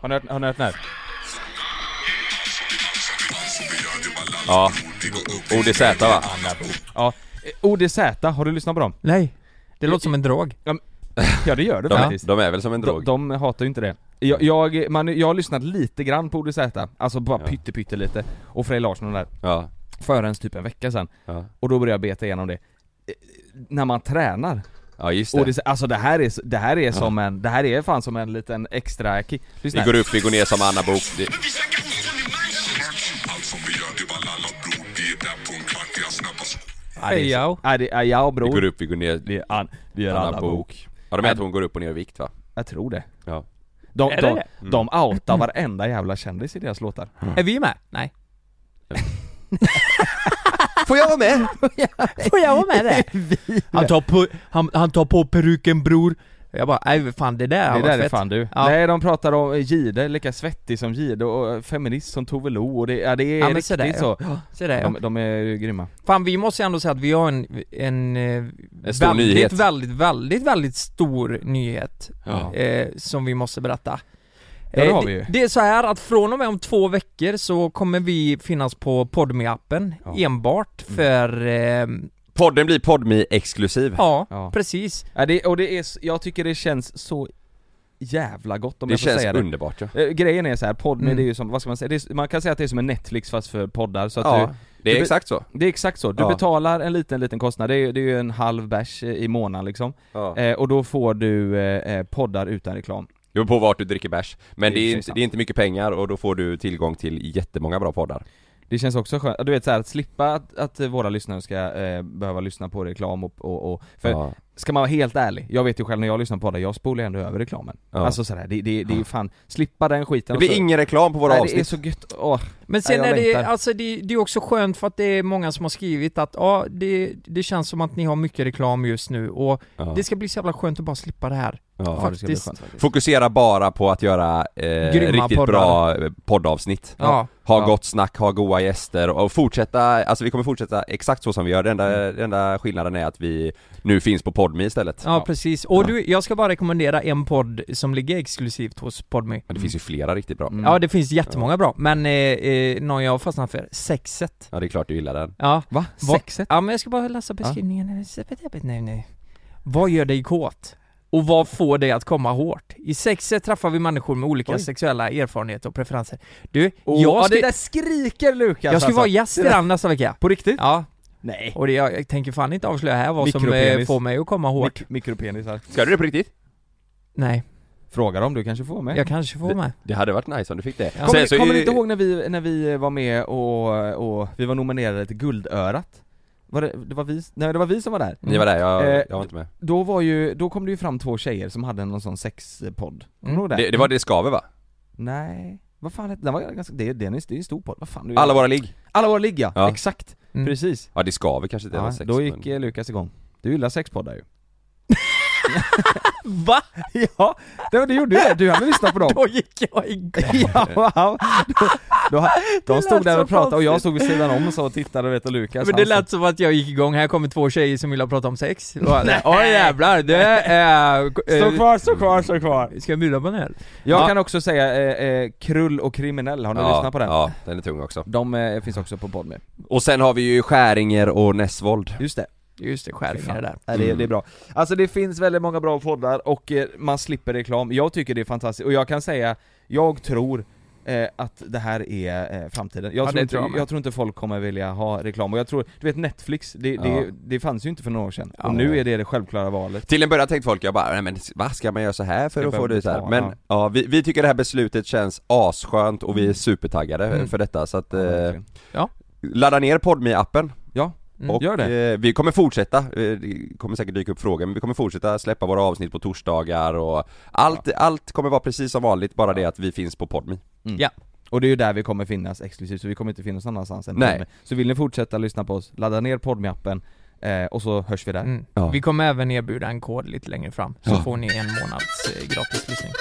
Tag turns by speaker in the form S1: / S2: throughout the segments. S1: Har ni hört, har ni hört den här?
S2: Ja. ODZ va?
S1: Ja. Eh, ODZ, har du lyssnat på dem?
S3: Nej. Det låter som en drog.
S1: Ja det gör du
S2: De,
S1: faktiskt.
S2: de är väl som en
S1: De,
S2: drog?
S1: de hatar ju inte det. Jag, jag, man, jag har lyssnat lite grann på ODZ, alltså bara pytte pytte lite och Frej Larsson och den där,
S2: Ja.
S1: för ens typ en vecka sedan.
S2: Ja.
S1: Och då började jag beta igenom det. Eh, När man tränar,
S2: ja, just
S1: och
S2: det.
S1: det, alltså det här är, s- det här är som en, det här är fan som en liten extra kick. Lyssna
S2: Vi
S1: här.
S2: går upp, vi går ner som Anna Bok. Det-
S3: Hej, ja.
S1: Nej det är jag och
S2: Vi går
S1: bror.
S2: upp, vi går ner.
S1: Vi är an, vi är
S2: Anna Bok. Ja, de menar att hon går upp och ner i vikt va?
S1: Jag tror det.
S2: Ja. Mm.
S1: De,
S3: Är det
S1: de,
S3: det?
S1: de outar varenda jävla kändis i deras låtar.
S3: Är vi med? Nej.
S2: Får jag vara med?
S3: Får jag vara med det? han, tar på, han, han tar på peruken bror. Jag bara, nej fan det där
S1: Det
S3: var
S1: där är
S3: fett.
S1: fan du.
S3: Ja.
S1: Nej de pratar om Gide, lika svettig som Gide och eh, feminist som Tove Lo och det, ja, det är
S3: Ja, men
S1: riktigt
S3: så där,
S1: så.
S3: Ja, så där, ja.
S1: De, de är ju grymma.
S3: Fan vi måste ju ändå säga att vi har en, en, eh,
S2: En stor
S3: väldigt,
S2: nyhet.
S3: väldigt, väldigt, väldigt stor nyhet
S2: Ja.
S3: eh, som vi måste berätta.
S1: Ja, det
S3: Eh,
S1: har vi ju.
S3: det, det är så här att från och med om två veckor så kommer vi finnas på podmi appen
S1: Ja.
S3: enbart för, eh,
S2: Podden blir podmi exklusiv
S3: ja,
S1: Ja.
S3: precis.
S1: Ja, det, och det är, s- jag tycker det känns så jävla gott om
S2: Det
S1: jag får
S2: känns
S1: säga det.
S2: underbart ja.
S1: Eh, Grejen är så här, podd,
S3: Mm.
S1: det är ju som, vad ska man säga, det är, man kan säga att det är som en Netflix fast för poddar så att
S2: ja. Det
S1: du
S2: är
S1: be-
S2: exakt så.
S1: du, det är exakt så, du
S2: Ja.
S1: betalar en liten, liten kostnad, det är, det är ju en halv bärs eh, i månaden liksom,
S2: Ja.
S1: eh, och då får du eh, eh, poddar utan reklam.
S2: Det beror på vart du dricker bärs. Men
S1: Det
S2: det
S1: är
S2: är,
S1: ju
S2: inte,
S1: sant.
S2: det är inte mycket pengar och då får du tillgång till jättemånga bra poddar.
S1: Det känns också skönt, du vet så här, att slippa att, att våra lyssnare ska eh, behöva lyssna på reklam och, och, och för
S2: Ja.
S1: ska man vara helt ärlig, jag vet ju själv när jag lyssnar på poddar, jag spolar ändå över reklamen.
S2: Ja.
S1: Alltså sådär, det, det, det är fan, slippa den skiten
S2: Det blir
S1: och så-
S2: ingen reklam på våra
S1: Nej, det är
S2: avsnitt.
S1: så gött, åh.
S3: Men sen
S1: Ja, jag
S3: är det,
S1: längtar.
S3: alltså det, det är också skönt för att det är många som har skrivit att ja, det, det känns som att ni har mycket reklam just nu och
S2: Ja.
S3: det ska bli så jävla skönt att bara slippa det här.
S2: Ja.
S1: Ja, det ska bli
S3: Faktiskt.
S1: skönt faktiskt.
S2: Fokusera bara på att göra eh,
S3: Grymma
S2: riktigt
S3: poddar.
S2: bra eh, poddavsnitt.
S3: Ja.
S2: Ha
S1: Ja.
S2: gott snack, ha goa gäster och fortsätta, alltså vi kommer fortsätta exakt så som vi gör. Den enda,
S1: Mm.
S2: den enda skillnaden är att vi nu finns på Podmi istället.
S3: Ja, precis. Och du, jag ska bara rekommendera en podd som ligger exklusivt hos Podme.
S2: Men det finns ju flera riktigt bra.
S1: Mm.
S3: Ja, det finns jättemånga bra, men eh, eh, någon jag har fastnat för, Sexet.
S2: Ja det är klart du gillar den.
S3: Ja.
S1: Va?
S3: Va-
S1: Sexet?
S3: Ja, men jag ska bara läsa beskrivningen. Nej, nej. Vad gör dig kåt? Och vad får dig att komma hårt? I Sexet träffar vi människor med olika
S1: Oj.
S3: sexuella erfarenheter och preferenser. Du,
S1: Åh,
S3: jag
S1: det
S3: skulle,
S1: där skriker Lukas
S3: jag skulle
S1: alltså.
S3: vara gäst i
S1: Det där-
S3: den nästa vecka.
S1: På riktigt?
S3: Ja,
S1: Nej.
S3: och det, jag, jag tänker fan inte avslöja här vad som eh,
S1: Mikropenis.
S3: får mig att komma hårt.
S1: Mik- mikropenisar.
S2: Ska du det på riktigt?
S3: nej,
S1: Fråga dem, du kanske får med.
S3: jag kanske får med.
S2: Det hade varit nice om du fick det.
S3: Ja.
S1: Kommer,
S2: Alltså, så-
S1: kommer ni inte ihåg när vi, när vi var med och, och vi var nominerade till Guldörat? Var det, det var vi, nej det var vi som var där.
S2: Ni var där, jag,
S1: Eh,
S2: jag var inte med.
S1: Då var ju, då kom det ju fram två tjejer som hade någon sån sexpodd. Kommer du ihåg det?
S2: Det, det var det skaver va?
S1: Nej, vad fan hette den? var ganska, det, det är en- det är en stor podd, vad fan du
S2: Alla våra ligg?
S1: Alla våra ligg ja,
S2: Ja.
S1: exakt!
S3: Mm.
S1: Precis.
S2: Ja det skaver kanske inte
S1: Ja,
S2: var sex,
S1: då gick
S2: men...
S1: eh, Lukas igång. Du gillar sexpoddar ju.
S3: Va?
S1: ja, det, var- du gjorde ju det, du hade lyssnat på dem.
S3: Då gick jag igång.
S1: Ja, wow. då, då, de
S3: lät
S1: stod där
S3: så
S1: och pratade och jag
S3: konstigt.
S1: stod vid sidan om och så och tittade vet och Lukas
S3: Men det
S1: han
S3: lät som att jag gick igång, här kommer två tjejer som vill prata om sex. Åh jävlar, det är... eh,
S1: stod- Stå kvar, stå kvar, stå kvar!
S3: Ska jag bjuda på en öl?
S1: Jag
S3: Ja.
S1: kan också säga eh, eh, Krull och kriminell, har ni
S2: ja,
S1: lyssnat på den?
S2: Ja, den är tung också.
S1: De eh, finns också på Podme.
S2: Och sen har vi ju Skäringer och Nessvold.
S1: Just det,
S3: Just det, skäringar där.
S1: Nej, det, det är bra. Alltså det finns väldigt många bra poddar och eh, man slipper reklam. Jag tycker det är fantastiskt, och jag kan säga, jag tror eh, att det här är eh, framtiden. Jag,
S3: Ja,
S1: tror
S3: det
S1: inte,
S3: tror jag
S1: jag,
S3: med.
S1: tror inte folk kommer vilja ha reklam, och jag tror, du vet Netflix, det,
S2: Ja.
S1: det, det fanns ju inte för några år sedan,
S2: Ja.
S1: och nu är det det självklara valet.
S2: Till en början tänkte folk, jag bara, nej men vad ska man göra så här för
S1: Ska
S2: att få
S1: behöva
S2: det så här?
S1: betala,
S2: Men
S1: ja.
S2: ja, vi, vi tycker det här beslutet känns asskönt och vi är supertaggade
S3: Mm.
S2: för detta så att
S1: Ja,
S2: eh,
S1: verkligen.
S2: ladda ner podmi appen
S1: Ja,
S3: Mm.
S2: och
S1: gör det.
S2: Eh, vi kommer fortsätta, eh, det kommer säkert dyka upp frågor men vi kommer fortsätta släppa våra avsnitt på torsdagar och allt, allt kommer vara precis som vanligt bara det att vi finns på podmi.
S1: Och det är ju där vi kommer finnas exklusivt, så vi kommer inte finnas någon annanstans än
S2: Nej.
S1: Podme. Så vill ni fortsätta lyssna på oss, ladda ner Podme-appen, eh, och så hörs vi där.
S3: Mm.
S2: Ja.
S3: Vi kommer även erbjuda en kod lite längre fram, så
S2: Ja.
S3: får ni en månads eh, gratis lyssning.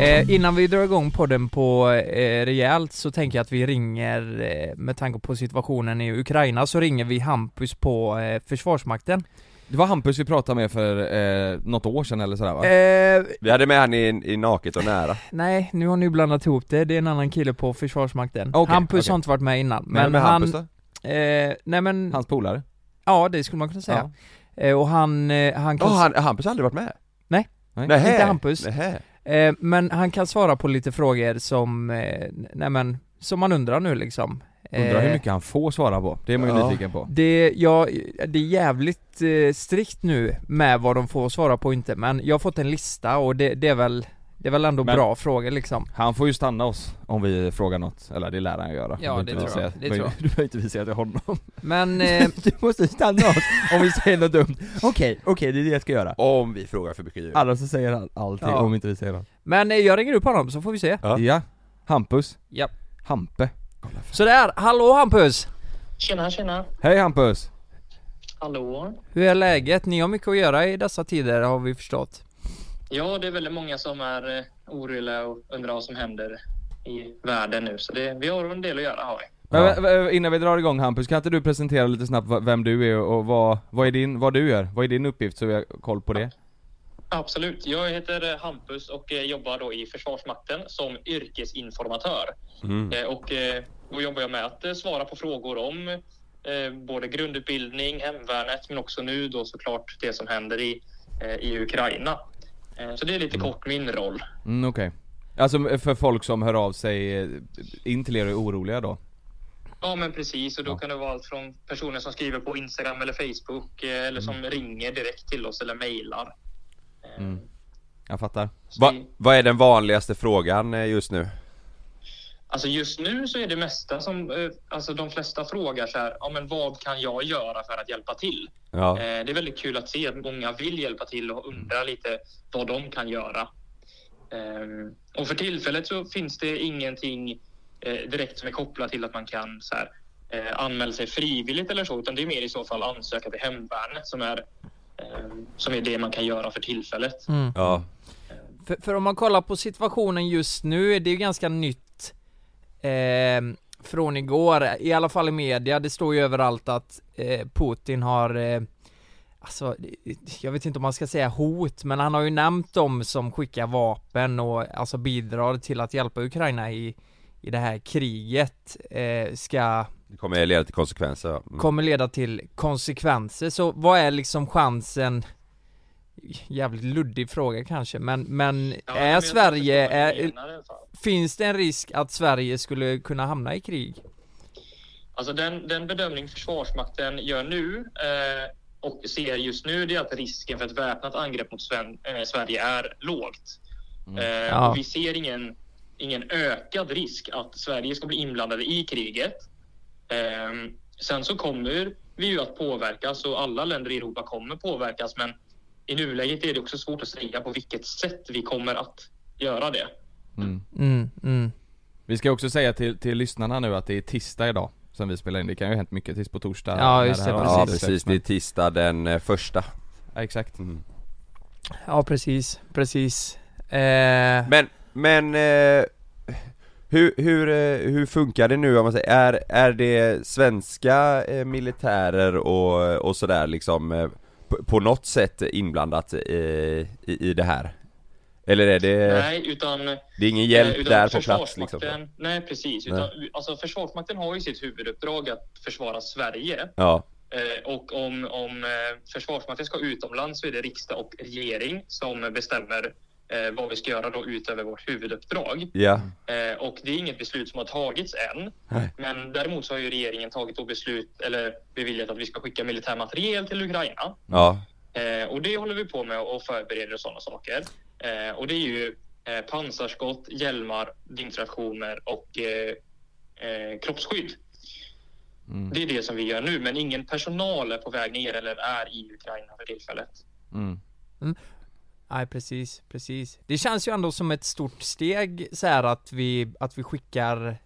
S3: Eh, innan vi drar igång podden på eh, rejält så tänker jag att vi ringer, eh, med tanke på situationen i Ukraina, så ringer vi Hampus på eh, Försvarsmakten.
S1: Det var Hampus vi pratade med för eh, något år sedan eller sådär va?
S3: Eh,
S2: Vi hade med han i, i Naket och nära.
S3: nej, nu har ni blandat ihop det. Det är en annan kille på Försvarsmakten.
S1: Okej,
S3: Hampus
S1: okej.
S3: har inte varit med innan.
S2: Men med
S3: han,
S2: Hampus då?
S3: eh, nej men,
S1: Hans polare?
S3: ja det skulle man kunna säga. Eh, och han, eh, han kan
S2: Ja, han, Hampus har aldrig varit med?
S3: Nej.
S1: Nej.
S2: Nähä.
S3: Inte Hampus.
S2: Nähä.
S3: Eh, men han kan svara på lite frågor som, eh, nej men, som man undrar nu liksom.
S1: Undrar hur
S3: Eh,
S1: mycket han får svara på, det är man ju
S2: Ja.
S1: nyfiken på
S3: Det, ja, det är jävligt eh, strikt nu med vad de får svara på och inte, men jag har fått en lista och det, det är väl det är väl ändå
S1: Men-
S3: bra frågor liksom.
S1: Han får ju stanna oss om vi frågar något, eller det lär han ju göra
S3: Ja,
S1: behöver inte
S3: det
S1: vi
S3: tror jag.
S1: säga-
S3: Det tror jag.
S1: Du behöver inte vi säga till honom
S3: Men, eh,
S1: Du måste stanna oss om vi säger något dumt Okej, okej det är det jag ska göra
S2: Om vi frågar för mycket djur.
S1: Annars så säger han allting
S3: Ja.
S1: om inte vi säger något
S3: men eh, jag ringer upp honom så får vi se.
S2: Ja.
S1: Ja, Hampus
S3: Ja.
S1: Hampe
S3: Så där, hallå Hampus!
S4: Tjena, tjena.
S1: Hej Hampus!
S4: Hallå.
S3: Hur är läget? Ni har mycket att göra i dessa tider har vi förstått.
S4: Ja, det är väldigt många som är eh, oroliga och undrar vad som händer i världen nu. Så det, vi har en del att göra har vi.
S1: Men,
S2: Ja.
S1: men, men, innan vi drar igång Hampus, kan inte du presentera lite snabbt v- vem du är och vad, vad, är din, vad du gör? Vad är din uppgift så vi har koll på det?
S4: Absolut. Jag heter eh, Hampus och eh, jobbar då i Försvarsmakten som yrkesinformatör.
S2: Mm.
S4: Eh, Och eh, då jobbar jag med att eh, svara på frågor om eh, både grundutbildning, hemvärnet, men också nu då såklart det som händer i, eh, i Ukraina. Eh, Så det är lite kort min roll.
S1: Mm, okej Alltså för folk som hör av sig eh, in till er och är oroliga då?
S4: Ja, men precis. Och då
S1: Ja.
S4: kan det vara allt från personer som skriver på Instagram eller Facebook eh, eller som ringer direkt till oss eller mejlar. Eh,
S1: Mm. Jag fattar
S4: så
S2: Va,
S4: det-
S2: vad är den vanligaste frågan eh, just nu?
S4: Alltså just nu så är det mesta som, eh, alltså de flesta frågar så här, ja men vad kan jag göra för att hjälpa till?
S2: Ja.
S4: Eh, Det är väldigt kul att se att många vill hjälpa till och
S3: Mm.
S4: undrar lite vad de kan göra. Ehm, Och för tillfället så finns det ingenting eh, direkt som är kopplat till att man kan så här, eh, anmäla sig frivilligt eller så, utan det är mer i så fall ansöka till hemvärnet som är, ehm, som är det man kan göra för tillfället.
S2: Ja.
S3: För, för om man kollar på situationen just nu, det är ju ganska nytt eh, från igår, i alla fall i media. Det står ju överallt att eh, Putin har, eh, alltså, jag vet inte om man ska säga hot, men han har ju nämnt dem som skickar vapen och alltså bidrar till att hjälpa Ukraina i, i det här kriget, eh, ska,
S2: Det kommer leda till konsekvenser. ja. Mm.
S3: kommer leda till konsekvenser. Så vad är liksom chansen Jävligt luddig fråga kanske, men, men
S4: Ja, men
S3: är
S4: jag
S3: Sverige,
S4: förstår vad du
S3: är,
S4: menar i alla fall.
S3: Finns det en risk att Sverige skulle kunna hamna i krig?
S4: Alltså den, den bedömning Försvarsmakten gör nu eh, och ser just nu det är att risken för ett väpnat angrepp mot Sven, eh, Sverige är lågt. Eh,
S3: Ja.
S4: och vi ser ingen, ingen ökad risk att Sverige ska bli inblandade i kriget. Ehm, sen så kommer vi ju att påverkas och alla länder i Europa kommer påverkas men i nuläget är det också svårt att säga på vilket sätt vi kommer att göra det.
S1: mm.
S3: Mm, mm.
S1: Vi ska också säga till, till lyssnarna nu att det är tisdag idag som vi spelar in, det kan ju ha hänt mycket tills på torsdag
S3: Ja,
S1: när
S3: just det,
S1: här avsnittet
S2: Ja
S1: släpps,
S2: precis, Mm. det
S1: men-
S2: är tisdag den eh, första.
S1: ja, exakt
S3: Ja, precis, precis. Eh,
S2: Men, men eh, hur, hur, eh, hur funkar det nu om man säger, är, är det svenska eh, militärer och, och sådär liksom eh, på, på något sätt inblandat eh, i, i det här? Eller är det,
S4: Nej, utan
S2: det är ingen hjälp
S4: Eh, utan
S2: där på plats liksom?
S4: Försvarsmakten- Nej, precis.
S2: Nej.
S4: Utan, alltså, försvarsmakten har ju sitt huvuduppdrag att försvara Sverige.
S2: Ja,
S4: Eh, och om, om eh, Försvarsmakten ska utomlands så är det riksdag och regering som bestämmer eh, vad vi ska göra då utöver vårt huvuduppdrag.
S2: ja,
S4: Eh, och det är inget beslut som har tagits än.
S2: Nej.
S4: Men däremot så har ju regeringen tagit då beslut eller beviljat att vi ska skicka militär materiel till Ukraina.
S2: ja,
S4: Eh, och det håller vi på med och förbereder och sådana saker. Eh, och det är ju eh, pansarskott, hjälmar, dyngtraktioner och eh, eh, kroppsskydd.
S1: mm.
S4: Det är det som vi gör nu, men ingen personal är på väg ner eller är i Ukraina för tillfället.
S1: Mm.
S3: nej, precis, precis. Det känns ju ändå som ett stort steg så här att vi, att vi skickar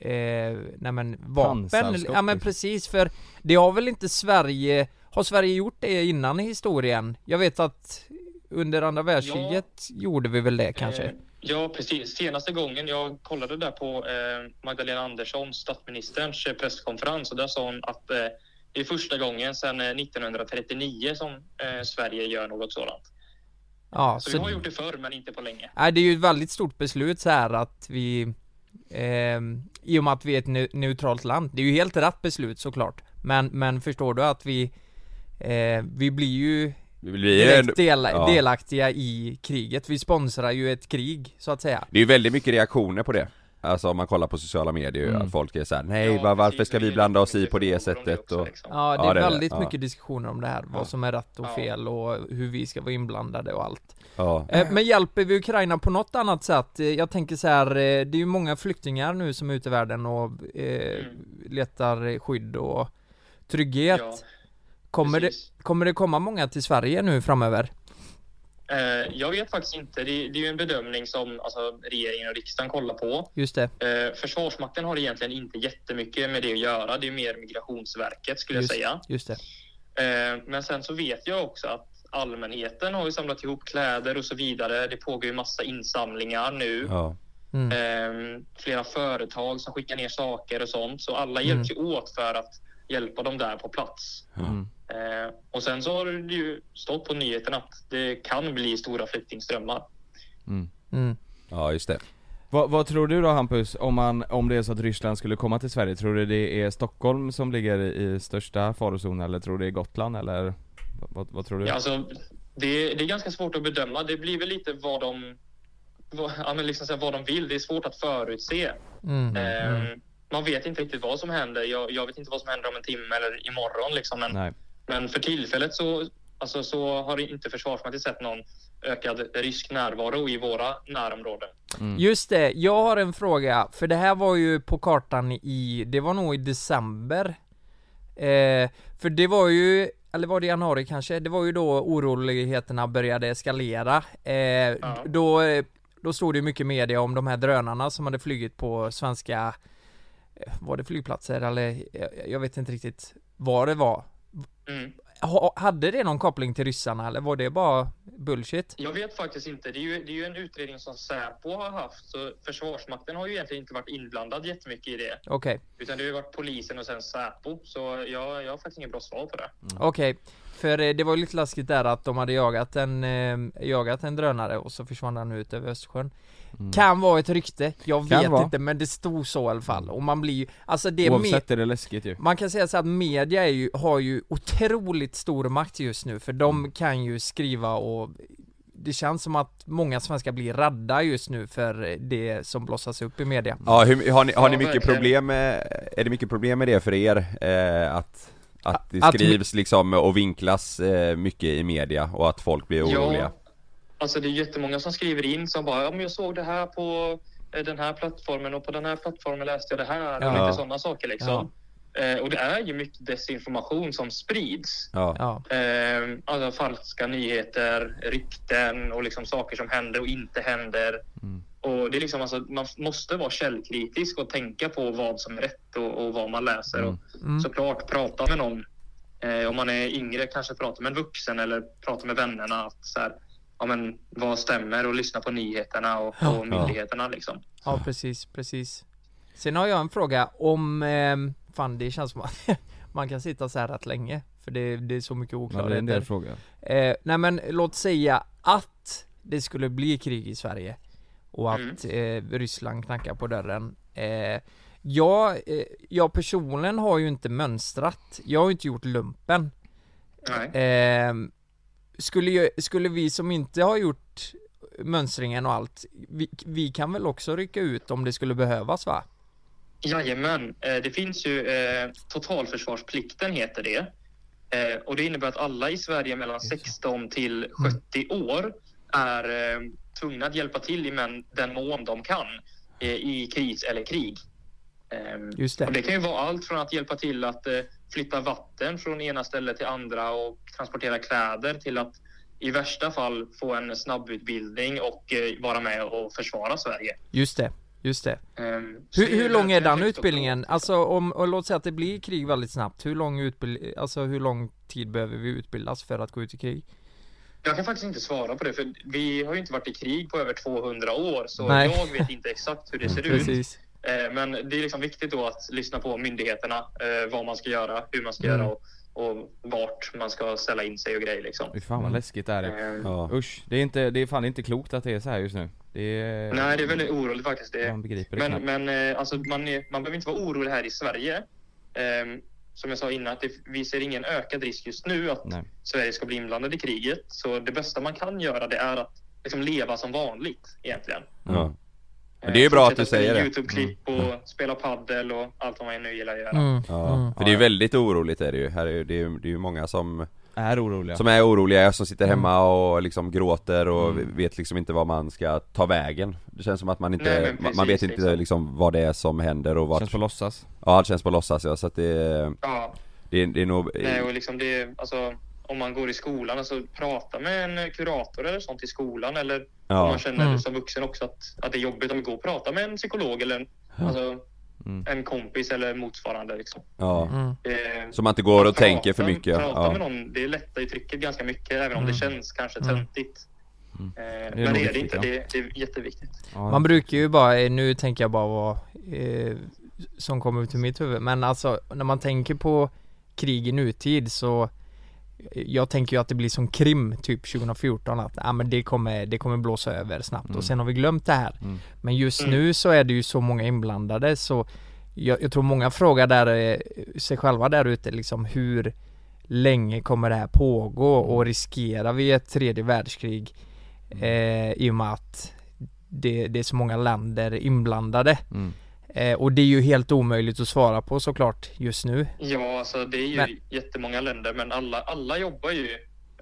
S3: Eh, nej men vapen,
S1: Pansarskott,
S3: ja men
S1: liksom.
S3: precis för det har väl inte Sverige, har Sverige gjort det innan i historien? Jag vet att under andra världskriget gjorde vi väl det kanske?
S4: Eh, Ja, precis. Senaste gången jag kollade där på eh, Magdalena Andersson, statsministerns eh, presskonferens, och där sa hon att eh, det är första gången sedan eh, 1939 som eh, Sverige gör något sådant.
S3: Ja,
S4: Så vi har
S3: så,
S4: gjort det förr, men inte på länge.
S3: nej, det är ju ett väldigt stort beslut så här att vi, ehm, i och med att vi är ett neu- neutralt land, det är ju helt rätt beslut såklart, men, men förstår du att vi, eh, vi blir ju
S2: Det blir en,
S3: direkt del,
S2: ja.
S3: delaktiga i kriget, vi sponsrar ju ett krig så att säga.
S2: Det är ju väldigt mycket reaktioner på det Alltså om man kollar på sociala medier,
S3: Mm.
S2: ju, att folk är såhär Nej
S4: Ja,
S2: va,
S4: precis.
S2: varför ska
S4: Det
S2: vi
S4: är
S2: blanda oss i
S4: lite
S2: på det
S4: frågor om
S2: sättet?
S4: också,
S2: Och,
S4: liksom.
S3: Ja, det
S2: Ja,
S3: är
S2: det är det.
S3: väldigt
S2: Ja.
S3: mycket diskussioner om det här, vad som är rätt och
S4: Ja.
S3: fel och hur vi ska vara inblandade och allt.
S2: ja.
S4: Mm.
S3: Eh, Men hjälper vi Ukraina på något annat sätt? Eh, Jag tänker så här, eh, det är ju många flyktingar nu som är ute i världen och eh, letar skydd och trygghet.
S4: Mm. Ja,
S3: kommer, det,
S4: precis.
S3: kommer det komma många till Sverige nu framöver?
S4: Eh, jag vet faktiskt inte. Det, det är ju en bedömning som alltså, regeringen och riksdagen kollar på.
S3: Just det,
S4: Eh, Försvarsmakten har egentligen inte jättemycket med det att göra. Det är mer Migrationsverket skulle
S3: Just-
S4: jag säga.
S3: just det.
S4: Eh, Men sen så vet jag också att allmänheten har ju samlat ihop kläder och så vidare. Det pågår ju massa insamlingar nu.
S2: Ja.
S3: Mm.
S4: Eh, Flera företag som skickar ner saker och sånt. Så alla
S3: Mm.
S4: hjälps ju åt för att hjälpa dem där på plats.
S1: Mm.
S4: Eh, Och sen så har det ju stått på nyheten att det kan bli stora flyktingströmmar. Eh,
S3: Mm.
S2: ja, just det
S1: Vad, vad tror du då Hampus, om, man, om det är så att Ryssland skulle komma till Sverige, tror du det är Stockholm som ligger i största farozon eller tror du det är Gotland eller? Vad, vad tror du?
S4: Ja, alltså, det, det är ganska svårt att bedöma. Det blir väl lite vad de, vad, ja, men liksom så här, vad de vill. Det är svårt att förutse.
S3: Mm.
S4: Ehm,
S3: Mm.
S4: Man vet inte riktigt vad som händer. Jag, jag vet inte vad som händer om en timme eller imorgon. Liksom. Men,
S1: Nej.
S4: men för tillfället så, alltså, så har inte Försvarsmakten sett någon ökad rysk närvaro i våra närområden.
S1: Mm.
S3: Just det, jag har en fråga, för det här var ju på kartan i, det var nog i december eh, För det var ju, eller var det i januari kanske? Det var ju då oroligheterna började eskalera eh, då, eh, då stod det ju mycket media om de här drönarna som hade flugit på svenska eh, Var det flygplatser eller? Jag, jag vet inte riktigt vad det var
S4: Mm.
S3: ha, Hade det någon koppling till ryssarna eller var det bara bullshit?
S4: Jag vet faktiskt inte. Det är, ju, det är ju en utredning som Säpo har haft. Så Försvarsmakten har ju egentligen inte varit inblandad jättemycket i det.
S3: Okej
S4: Utan det har ju varit polisen och sen Säpo. Så jag, jag har faktiskt inget bra svar på det.
S1: Mm.
S3: Okej, för eh, det var ju lite läskigt där att de hade jagat en, eh, jagat en drönare och så försvann den ut över Östersjön Kan vara ett rykte, jag
S1: Mm. Kan
S3: vet
S1: vara. Mm.
S3: inte men det stod så i alla fall och man blir ju, alltså det är med,
S1: Oavsett är det läskigt ju.
S3: man kan säga så att media är ju, har ju otroligt stor makt just nu för de
S1: Mm.
S3: kan ju skriva och det känns som att många svenskar blir rädda just nu för det som blossas upp i media
S1: Mm.
S2: Ja, hur, har ni, har ni
S4: Ja,
S2: mycket
S4: verkligen.
S2: problem med, är det mycket problem med det för er? Eh, att, att det
S3: Att-
S2: skrivs liksom och vinklas eh, mycket i media och att folk blir oroliga?
S4: Ja, alltså det är jättemånga som skriver in som bara, ja men jag såg det här på eh, den här plattformen och på den här plattformen läste jag det här.
S3: Ja.
S4: Och lite sådana saker liksom. Eh, och det är ju mycket desinformation som sprids.
S2: Ja.
S3: Ja,
S4: Eh, alla falska nyheter, rykten och liksom saker som händer och inte händer. Och det är liksom alltså, man måste vara källkritisk och tänka på vad som är rätt och, och vad man läser. Och
S3: Mm.
S4: såklart prata med någon. Eh, om man är yngre kanske prata med en vuxen eller prata med vännerna. Att så här, ja, men, vad stämmer och lyssna på nyheterna och, och myndigheterna. Liksom.
S3: ja precis, precis Sen har jag en fråga om, ehm, fan det känns som att man kan sitta så här rätt länge För det, det är så mycket
S1: Ja, det är en del
S3: oklarheter
S1: frågor.
S3: eh, Nej men låt säga att det skulle bli krig i Sverige Och att eh, Ryssland knackar på dörren eh, jag, eh, jag personligen har ju inte mönstrat Jag har ju inte gjort lumpen
S4: Nej.
S3: Ehm, skulle, ju, skulle vi som inte har gjort mönstringen och allt, vi, vi kan väl också rycka ut om det skulle behövas va?
S4: Jajamän, eh, det finns ju eh, totalförsvarsplikten heter det. Eh, och det innebär att alla i Sverige mellan 16 till 70 år är eh, tvungna att hjälpa till i men, den mån de kan eh, i kris eller krig. Ehm,
S3: Just det.
S4: Och det kan ju vara allt från att hjälpa till att eh, flytta vatten från ena stället till andra och transportera kläder till att i värsta fall få en snabbutbildning och eh, vara med och försvara Sverige.
S3: Just det, just det.
S4: Ehm, så
S3: Hur,
S4: det
S3: hur lång är
S4: verkligen
S3: den
S4: högt upp på-
S3: utbildningen? Alltså om, och låt säga att det blir krig väldigt snabbt, hur lång utbild, alltså hur lång tid behöver vi utbildas för att gå ut i krig?
S4: Jag kan faktiskt inte svara på det, för vi har ju inte varit i krig på över 200 år, så
S3: Nej. Mm,
S4: jag vet inte exakt hur det ser ut.
S3: Precis.
S4: Eh, Men det är liksom viktigt då att lyssna på myndigheterna, eh, vad man ska göra, hur man ska
S3: Mm.
S4: göra och, och vart man ska ställa in sig och grejer liksom.
S1: Fy fan vad läskigt det här är.
S4: Eh,
S2: Ja.
S1: Usch, det är, inte, det är fan inte klokt att det är så här just nu. Det
S2: Eh,
S1: är...
S4: Nej, det är väldigt oroligt faktiskt. Det,
S1: Man begriper det
S4: men
S1: knappt.
S4: men eh, alltså, man, är, man behöver inte vara orolig här i Sverige. Ehm, som jag sa innan, att det, vi ser ingen ökad risk just nu att
S1: Nej.
S4: Sverige ska bli inblandad i kriget. Så det bästa man kan göra det är att liksom, leva som vanligt egentligen.
S3: Mm.
S2: Ja. Men
S4: Eh,
S2: det är ju bra att
S4: fortsätta
S2: du säger
S4: spela
S2: det. Mm,
S4: Youtube-klipp och spela paddel och allt vad man nu gillar att göra.
S3: Mm.
S2: Ja,
S3: Mm.
S2: för det är ju väldigt oroligt är det ju. Här är ju, det, är ju det är ju många som,
S1: Är oroliga.
S2: som är oroliga, som sitter
S4: Mm.
S2: hemma och liksom gråter och vet liksom inte vad man ska ta vägen. Det känns som att man inte,
S4: Nej, men
S2: man, man vet
S4: precis,
S2: inte liksom.
S4: liksom.
S2: vad det är som händer och vart,
S1: Känns på låtsas.
S2: ja det känns på låtsas ja, så att det,
S4: Ja,
S2: det, är- det är nog
S4: nej, och liksom det, alltså, om man går i skolan, alltså, prata med en kurator eller sånt i skolan eller
S2: Ja.
S4: om man känner
S3: Mm.
S4: som vuxen också att, att det är jobbigt att gå och prata med en psykolog eller en, alltså,
S1: Mm.
S4: en kompis eller motsvarande. Liksom.
S2: ja.
S3: Mm.
S4: Eh,
S2: Så man inte går och
S4: prata-
S2: tänker för mycket.
S4: Prata med
S2: Ja.
S4: någon, det lättar ju trycket ganska mycket även om det känns kanske töntigt.
S2: Mm.
S4: Eh,
S1: nog
S4: men det är det
S1: viktigt,
S4: inte,
S1: ja.
S4: det, det är jätteviktigt.
S1: Ja.
S3: Man brukar ju bara, eh, nu tänker jag bara vad eh, som kommer ut ur mitt huvud, men alltså när man tänker på krig i nutid så eh, jag tänker ju att det blir som krim typ 2014 att ah, men det, kommer, det kommer blåsa över snabbt och sen har vi glömt det här. Men just nu så är det ju så många inblandade så jag, jag tror många frågar där, eh, sig själva där ute liksom hur länge kommer det här pågå och riskerar vi ett tredje världskrig eh, i och med att det, det är så många länder inblandade.
S1: Mm.
S3: Eh, och det är ju helt omöjligt att svara på såklart just nu.
S4: Ja, alltså det är ju
S3: Men-
S4: jättemånga länder, men alla, alla jobbar ju.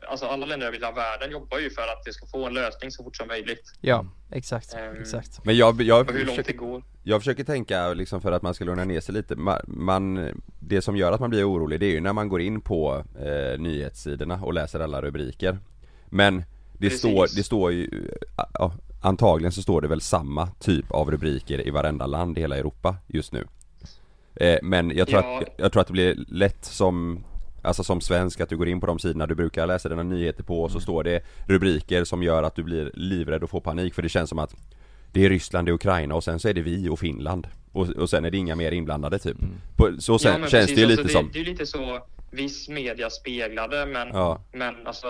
S4: Alltså alla länder över hela världen jobbar ju för att det ska få en lösning så fort som möjligt.
S3: Ja, exakt,
S4: Ehm,
S3: exakt.
S2: Men jag, jag,
S4: Och hur långt det
S2: försöker,
S4: går.
S2: jag försöker tänka liksom för att man ska lugna ner sig lite, man, man, det som gör att man blir orolig det är ju när man går in på eh, nyhetssidorna och läser alla rubriker Men det
S4: Precis.
S2: står, det står ju, ja, antagligen så står det väl samma typ av rubriker i varenda land i hela Europa just nu eh, Men jag tror,
S4: Ja.
S2: att, jag tror att det blir lätt som Alltså som svensk att du går in på de sidorna du brukar läsa dina nyheter på
S4: Mm.
S2: och så står det rubriker som gör att du blir livrädd och får panik för det känns som att Det är Ryssland, det är Ukraina och sen så är det vi och Finland Och, och sen är det inga mer inblandade typ på, Så sen,
S4: Ja, men
S2: känns det ju
S4: precis.
S2: lite
S4: alltså,
S2: som
S4: Det, det är ju lite så viss media speglade, men,
S2: Ja.
S4: men alltså,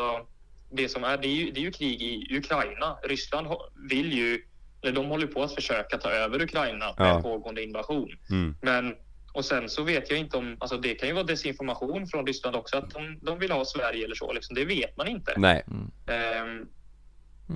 S4: det som är, det är, ju, det är ju krig i Ukraina. Ryssland ho- vill ju, eller de håller på att försöka ta över Ukraina med
S2: Ja.
S4: pågående invasion.
S2: Mm.
S4: Men, och sen så vet jag inte om, alltså det kan ju vara desinformation från Ryssland också, att de, de vill ha Sverige eller så, liksom, det vet man inte.
S2: Nej,
S4: Ehm,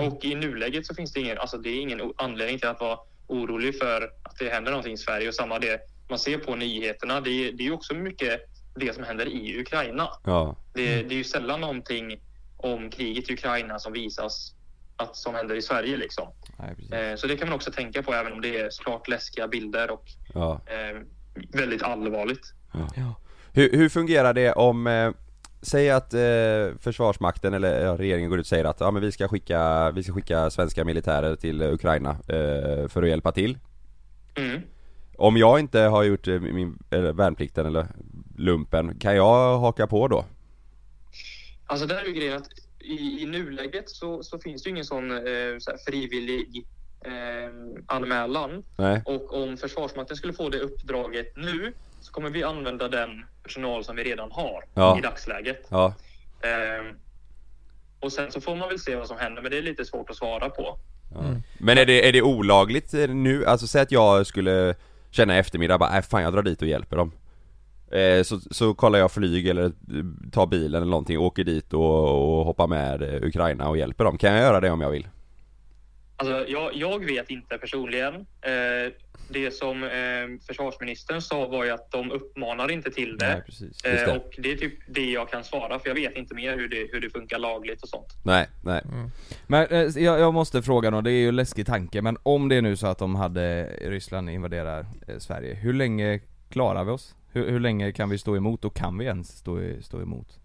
S4: och i nuläget så finns det ingen, alltså det är ingen o- anledning till att vara orolig för att det händer någonting i Sverige och samma det man ser på nyheterna. Det, är- det är ju också mycket det som händer i Ukraina.
S2: ja,
S4: Det, det är ju sällan någonting om kriget i Ukraina som visas att, som händer i Sverige liksom.
S1: Nej, precis.
S4: Eh, så det kan man också tänka på även om det är såklart läskiga bilder och
S2: ja
S4: eh, väldigt allvarligt.
S2: Hur, hur fungerar det om, eh, säg att eh, Försvarsmakten eller ja, regeringen går ut och säger att ja, men vi, ska skicka, vi ska skicka svenska militärer till eh, Ukraina eh, för att hjälpa till.
S4: Mm.
S2: Om jag inte har gjort eh, min eller värnplikten eller lumpen, kan jag haka på då?
S4: Alltså där är ju grejen att i, i nuläget så, så finns det ju ingen sån eh, så här frivillig eh, anmälan.
S2: Nej.
S4: Och om Försvarsmakten skulle få det uppdraget nu så kommer vi använda den personal som vi redan har
S2: Ja.
S4: i dagsläget.
S2: Ja,
S4: Eh, och sen så får man väl se vad som händer, men det är lite svårt att svara på.
S2: ja. Men är det, är det olagligt eh, nu? Alltså säg att jag skulle känna i eftermiddag bara, nej fan jag drar dit och hjälper dem. Eh, så, så kollar jag flyg eller eh, tar bilen eller någonting, åker dit och, och hoppar med eh, Ukraina och hjälper dem. Kan jag göra det om jag vill?
S4: Alltså, jag, jag vet inte personligen. Eh, det som eh, försvarsministern sa var ju att de uppmanar inte till det.
S1: Nej, precis.
S2: Just
S4: Eh,
S2: det.
S4: och det är typ det jag kan svara, för jag vet inte mer hur det, hur det funkar lagligt och sånt.
S2: Nej, nej.
S1: Men eh, jag, jag måste fråga då, det är ju en läskig tanke, men om det är nu så att de hade Ryssland invaderar eh, Sverige, hur länge klarar vi oss? Hur, hur länge kan vi stå emot och kan vi ens stå, i- stå emot?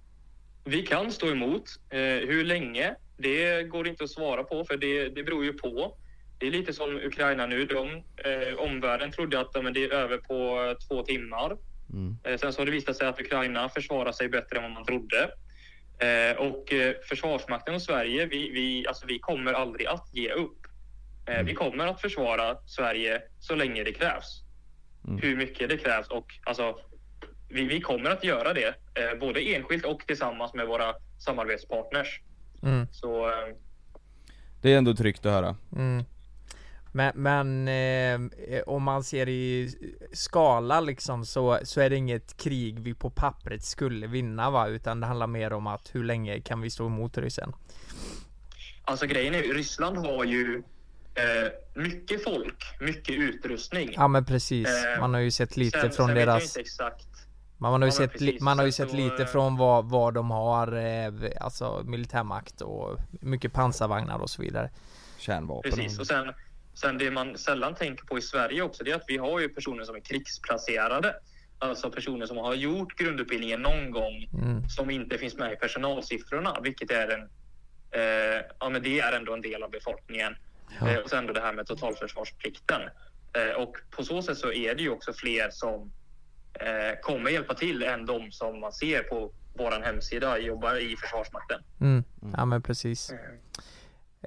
S4: Vi kan stå emot. Eh, hur länge? Det går inte att svara på, för det, det beror ju på. Det är lite som Ukraina nu. De, eh, omvärlden trodde att ja, men det är över på eh, två timmar.
S1: Mm.
S4: Eh, sen så har det visat sig att Ukraina försvarar sig bättre än vad man trodde. Eh, och eh, Försvarsmakten och Sverige, vi, vi, alltså, vi kommer aldrig att ge upp. Eh, Vi kommer att försvara Sverige så länge det krävs.
S1: Mm.
S4: Hur mycket det krävs och alltså, vi, vi kommer att göra det, eh, både enskilt och tillsammans med våra samarbetspartners.
S3: Mm,
S4: Så eh,
S1: Det är ändå tryggt att höra.
S3: mm. Men, men eh, om man ser i skala liksom så, så är det inget krig vi på pappret skulle vinna va? Utan det handlar mer om att hur länge kan vi stå emot ryssen?
S4: alltså grejen är ju, Ryssland har ju eh, mycket folk, mycket utrustning.
S3: Ja men precis,
S4: Eh,
S3: man har ju sett lite
S4: sen,
S3: från
S4: sen vet jag
S3: deras
S4: inte exakt.
S3: Man, man har ju
S4: Ja, men
S3: sett, li-
S4: precis.
S3: man har ju
S4: Sen
S3: sett
S4: så,
S3: lite
S4: eh,
S3: från vad, vad de har, eh, alltså militärmakt och mycket pansarvagnar och så vidare.
S1: Kärnvapen.
S4: Precis, och sen, sen det man sällan tänker på i Sverige också, det är att vi har ju personer som är krigsplacerade. Alltså personer som har gjort grundutbildningen någon gång
S3: Mm.
S4: som inte finns med i personalsiffrorna, vilket är en, eh, ja, men det är ändå en del av befolkningen.
S3: Ja.
S4: Eh, och sen då det här med totalförsvarsplikten. Eh, och på så sätt så är det ju också fler som eh, kommer hjälpa till än de som man ser på vår hemsida jobbar i Försvarsmakten.
S3: Mm. Ja men precis.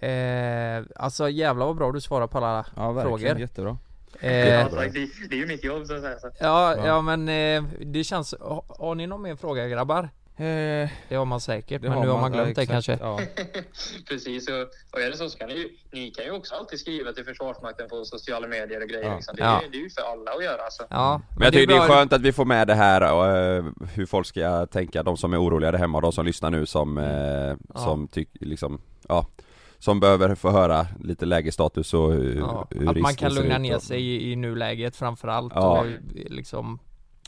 S3: Eh, alltså jävlar vad bra du svarar på alla
S1: Ja verkligen,
S3: frågor.
S1: jättebra.
S3: Eh,
S4: Alltså, det, det är ju mitt jobb så att säga. Så.
S3: ja,
S1: Ja.
S3: ja men eh, det känns, har, har ni någon mer fråga grabbar?
S1: Eh,
S3: Det har man säkert,
S1: det
S3: men nu har man
S1: ja,
S3: glömt det
S1: exakt,
S3: kanske.
S1: Ja.
S4: Precis, och, och är det så, så kan ni, ju- ni kan ju också alltid skriva till Försvarsmakten på sociala medier och grejer.
S1: Ja.
S4: Liksom. Det,
S3: Ja.
S4: är, det är ju för alla att göra. Alltså.
S3: Ja,
S1: Mm.
S2: Men jag tycker det är
S3: bra-
S2: skönt att vi får med det här och eh, hur folk ska tänka, de som är oroliga där hemma och de som lyssnar nu som, eh,
S3: Ja.
S2: som tycker liksom, ja Som behöver få höra lite lägesstatus och hur,
S3: Ja,
S2: hur
S3: att man
S2: risken
S3: kan
S2: ser
S3: lugna
S2: ut
S3: ner
S2: och-
S3: sig i, i nuläget framförallt
S2: Ja.
S3: och liksom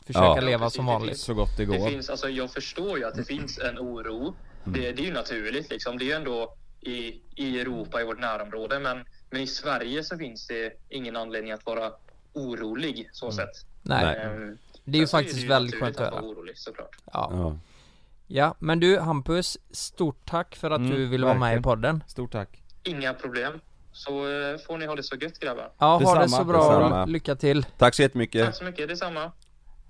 S3: försöka
S2: Ja.
S3: leva som
S4: Precis,
S3: vanligt.
S1: Så gott det
S4: Det
S1: går.
S4: finns, alltså, jag förstår ju att det finns en oro.
S3: Mm.
S4: Det, det är ju naturligt. Liksom. Det är ju ändå i, i Europa, i vårt närområde. Men, men i Sverige så finns det ingen anledning att vara orolig. så sätt.
S3: Mm. Nej,
S2: Nej.
S4: Ehm,
S3: det är ju
S4: sen så
S3: faktiskt
S4: ju
S3: väldigt
S4: naturligt
S3: skönt att höra.
S4: vara orolig såklart.
S3: Ja.
S2: Ja.
S3: ja, men du Hampus, stort tack för att
S1: Mm,
S3: du ville vara med i
S1: verkligen.
S3: podden.
S1: Stort tack.
S4: Inga problem. Så eh, får ni ha det så gött grabbar.
S3: Ja, ha det
S1: Detsamma,
S3: så bra
S2: detsamma.
S3: och lycka till.
S2: Tack så jättemycket,
S4: Tack så mycket. Detsamma.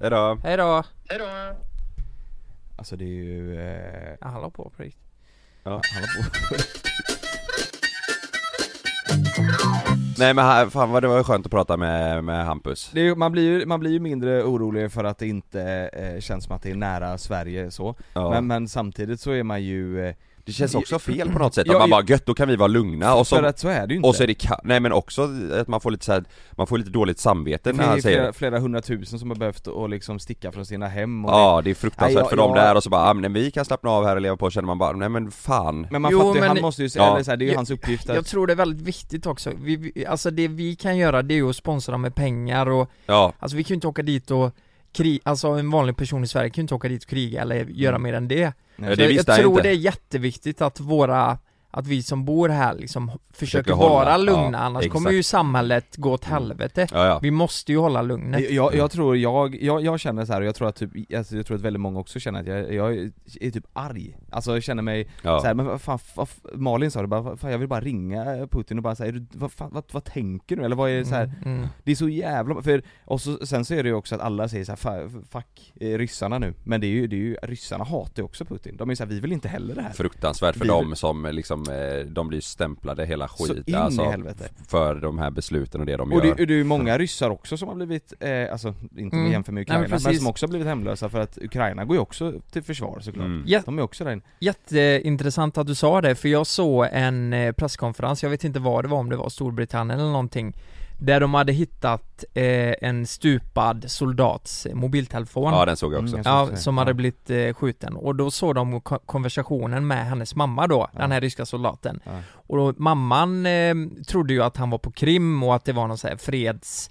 S2: hejdå!
S3: Hej då.
S4: Hej då.
S1: Alltså det är ju... Eh,
S3: Ja, hallå på Prit.
S2: Ja.
S1: han har på.
S2: Nej men han- fan vad det var skönt att prata med, med Hampus
S1: Det är, ju- man, blir ju, man blir ju mindre orolig för att det inte eh, känns som att det är nära Sverige så.
S2: ja.
S1: Men, men samtidigt så är man ju... Eh,
S2: Det känns också fel på något sätt,
S1: Ja,
S2: att man
S1: ja.
S2: bara gött, då kan vi vara lugna och
S1: för
S2: så,
S1: att så är det ju inte.
S2: och så är det ka- nej men också att man får lite så här, man får lite dåligt samvete
S1: det
S2: när
S1: är
S2: han
S1: ju
S2: säger
S1: flera, flera hundratusen som har behövt att liksom sticka från sina hem och
S2: Ja, det är fruktansvärt
S1: Nej, jag-
S2: för dem
S1: jag-
S2: där och så bara, ah, men vi kan slappna av här och leva på, känner man bara, nej men fan
S1: Men man
S3: Jo,
S1: fattar ju,
S3: men-
S1: han måste ju,
S2: Ja.
S1: eller så här, det är ju
S3: Jag-
S1: hans uppgift att...
S3: Jag tror det är väldigt viktigt också. Vi- Vi, alltså det vi kan göra det är ju att sponsra med pengar och
S2: Ja,
S3: Alltså vi kan ju inte åka dit och kriga, alltså en vanlig person i Sverige kan ju inte åka dit och kriga eller göra mer än det.
S1: Nej,
S2: Mm. det
S3: jag,
S2: visste
S3: jag
S2: jag
S3: tror
S2: inte.
S3: det är jätteviktigt att våra, att vi som bor här liksom försöker
S2: hålla,
S3: vara lugna,
S2: ja,
S3: annars
S2: exakt.
S3: kommer ju samhället gå åt helvete.
S2: ja, ja.
S3: Vi måste ju hålla lugnet.
S1: jag, jag tror, jag, jag, jag känner så här och jag tror att typ, alltså, jag tror att väldigt många också känner att jag, jag är typ arg Alltså jag känner mig
S2: ja.
S1: så här, men vad fan, vad, f- Malin sa det bara, vad fan, jag vill bara ringa Putin och bara säga vad, fan, vad, vad tänker du? Eller vad är det så här?
S3: Mm, mm.
S1: Det är så jävla, för, och så, sen så är det ju också att alla säger så här, "Fa- fuck eh, ryssarna nu Men det är ju, det är ju ryssarna hatar ju också Putin, de är ju så här, vi vill inte heller det här
S2: Fruktansvärt för
S1: Vi-
S2: dem som eh, liksom, eh, de blir stämplade hela
S1: Så
S2: skiten
S1: in i helvete
S2: För de här besluten och det alltså. de
S1: Och det,
S2: gör
S1: det är ju många ryssar också som har blivit, eh, alltså inte
S3: Mm.
S1: mm. jämför med
S3: Nej, men
S1: Ukraina, men,
S3: precis.
S1: som också har blivit hemlösa för att Ukraina går ju också till försvar såklart.
S2: Mm.
S3: Ja,
S1: De är också där inne.
S3: jätteintressant att du sa det, för jag såg en eh, presskonferens, jag vet inte vad det var, om det var Storbritannien eller någonting, där de hade hittat eh, en stupad soldats eh, mobiltelefon.
S2: Ja den såg jag också
S1: Mm,
S3: Ja,
S1: Så att säga.
S3: som hade
S1: Ja.
S3: blivit eh, skjuten. Och då såg de ko- konversationen med hennes mamma då,
S1: Ja.
S3: den här ryska soldaten.
S1: Ja.
S3: Och då, mamman eh, trodde ju att han var på Krim och att det var någon sån här freds...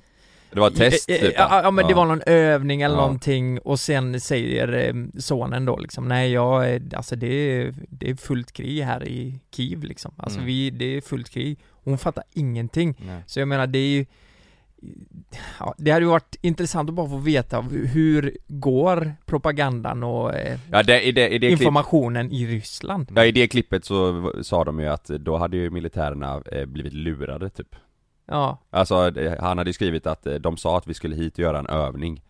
S2: Det var ett test
S3: Eh, eh,
S2: typ
S3: ja, ja men det var någon övning eller
S2: Ja.
S3: någonting och sen säger eh, sonen då liksom, nej jag, är- alltså det är, det är fullt krig här i Kiev liksom. Alltså
S1: Mm.
S3: vi, det är fullt krig. Hon fattar ingenting.
S1: Nej.
S3: Så jag menar det är ju Ja, det hade ju varit intressant att bara få veta hu- hur går propagandan och eh,
S2: Ja det, i, det, i, det klipp,
S3: informationen i Ryssland?
S2: ja, i det klippet så v- sa de ju att då hade ju militärerna eh, blivit lurade typ
S3: Ja,
S2: Alltså det- han hade ju skrivit att eh, de sa att vi skulle hit och göra en övning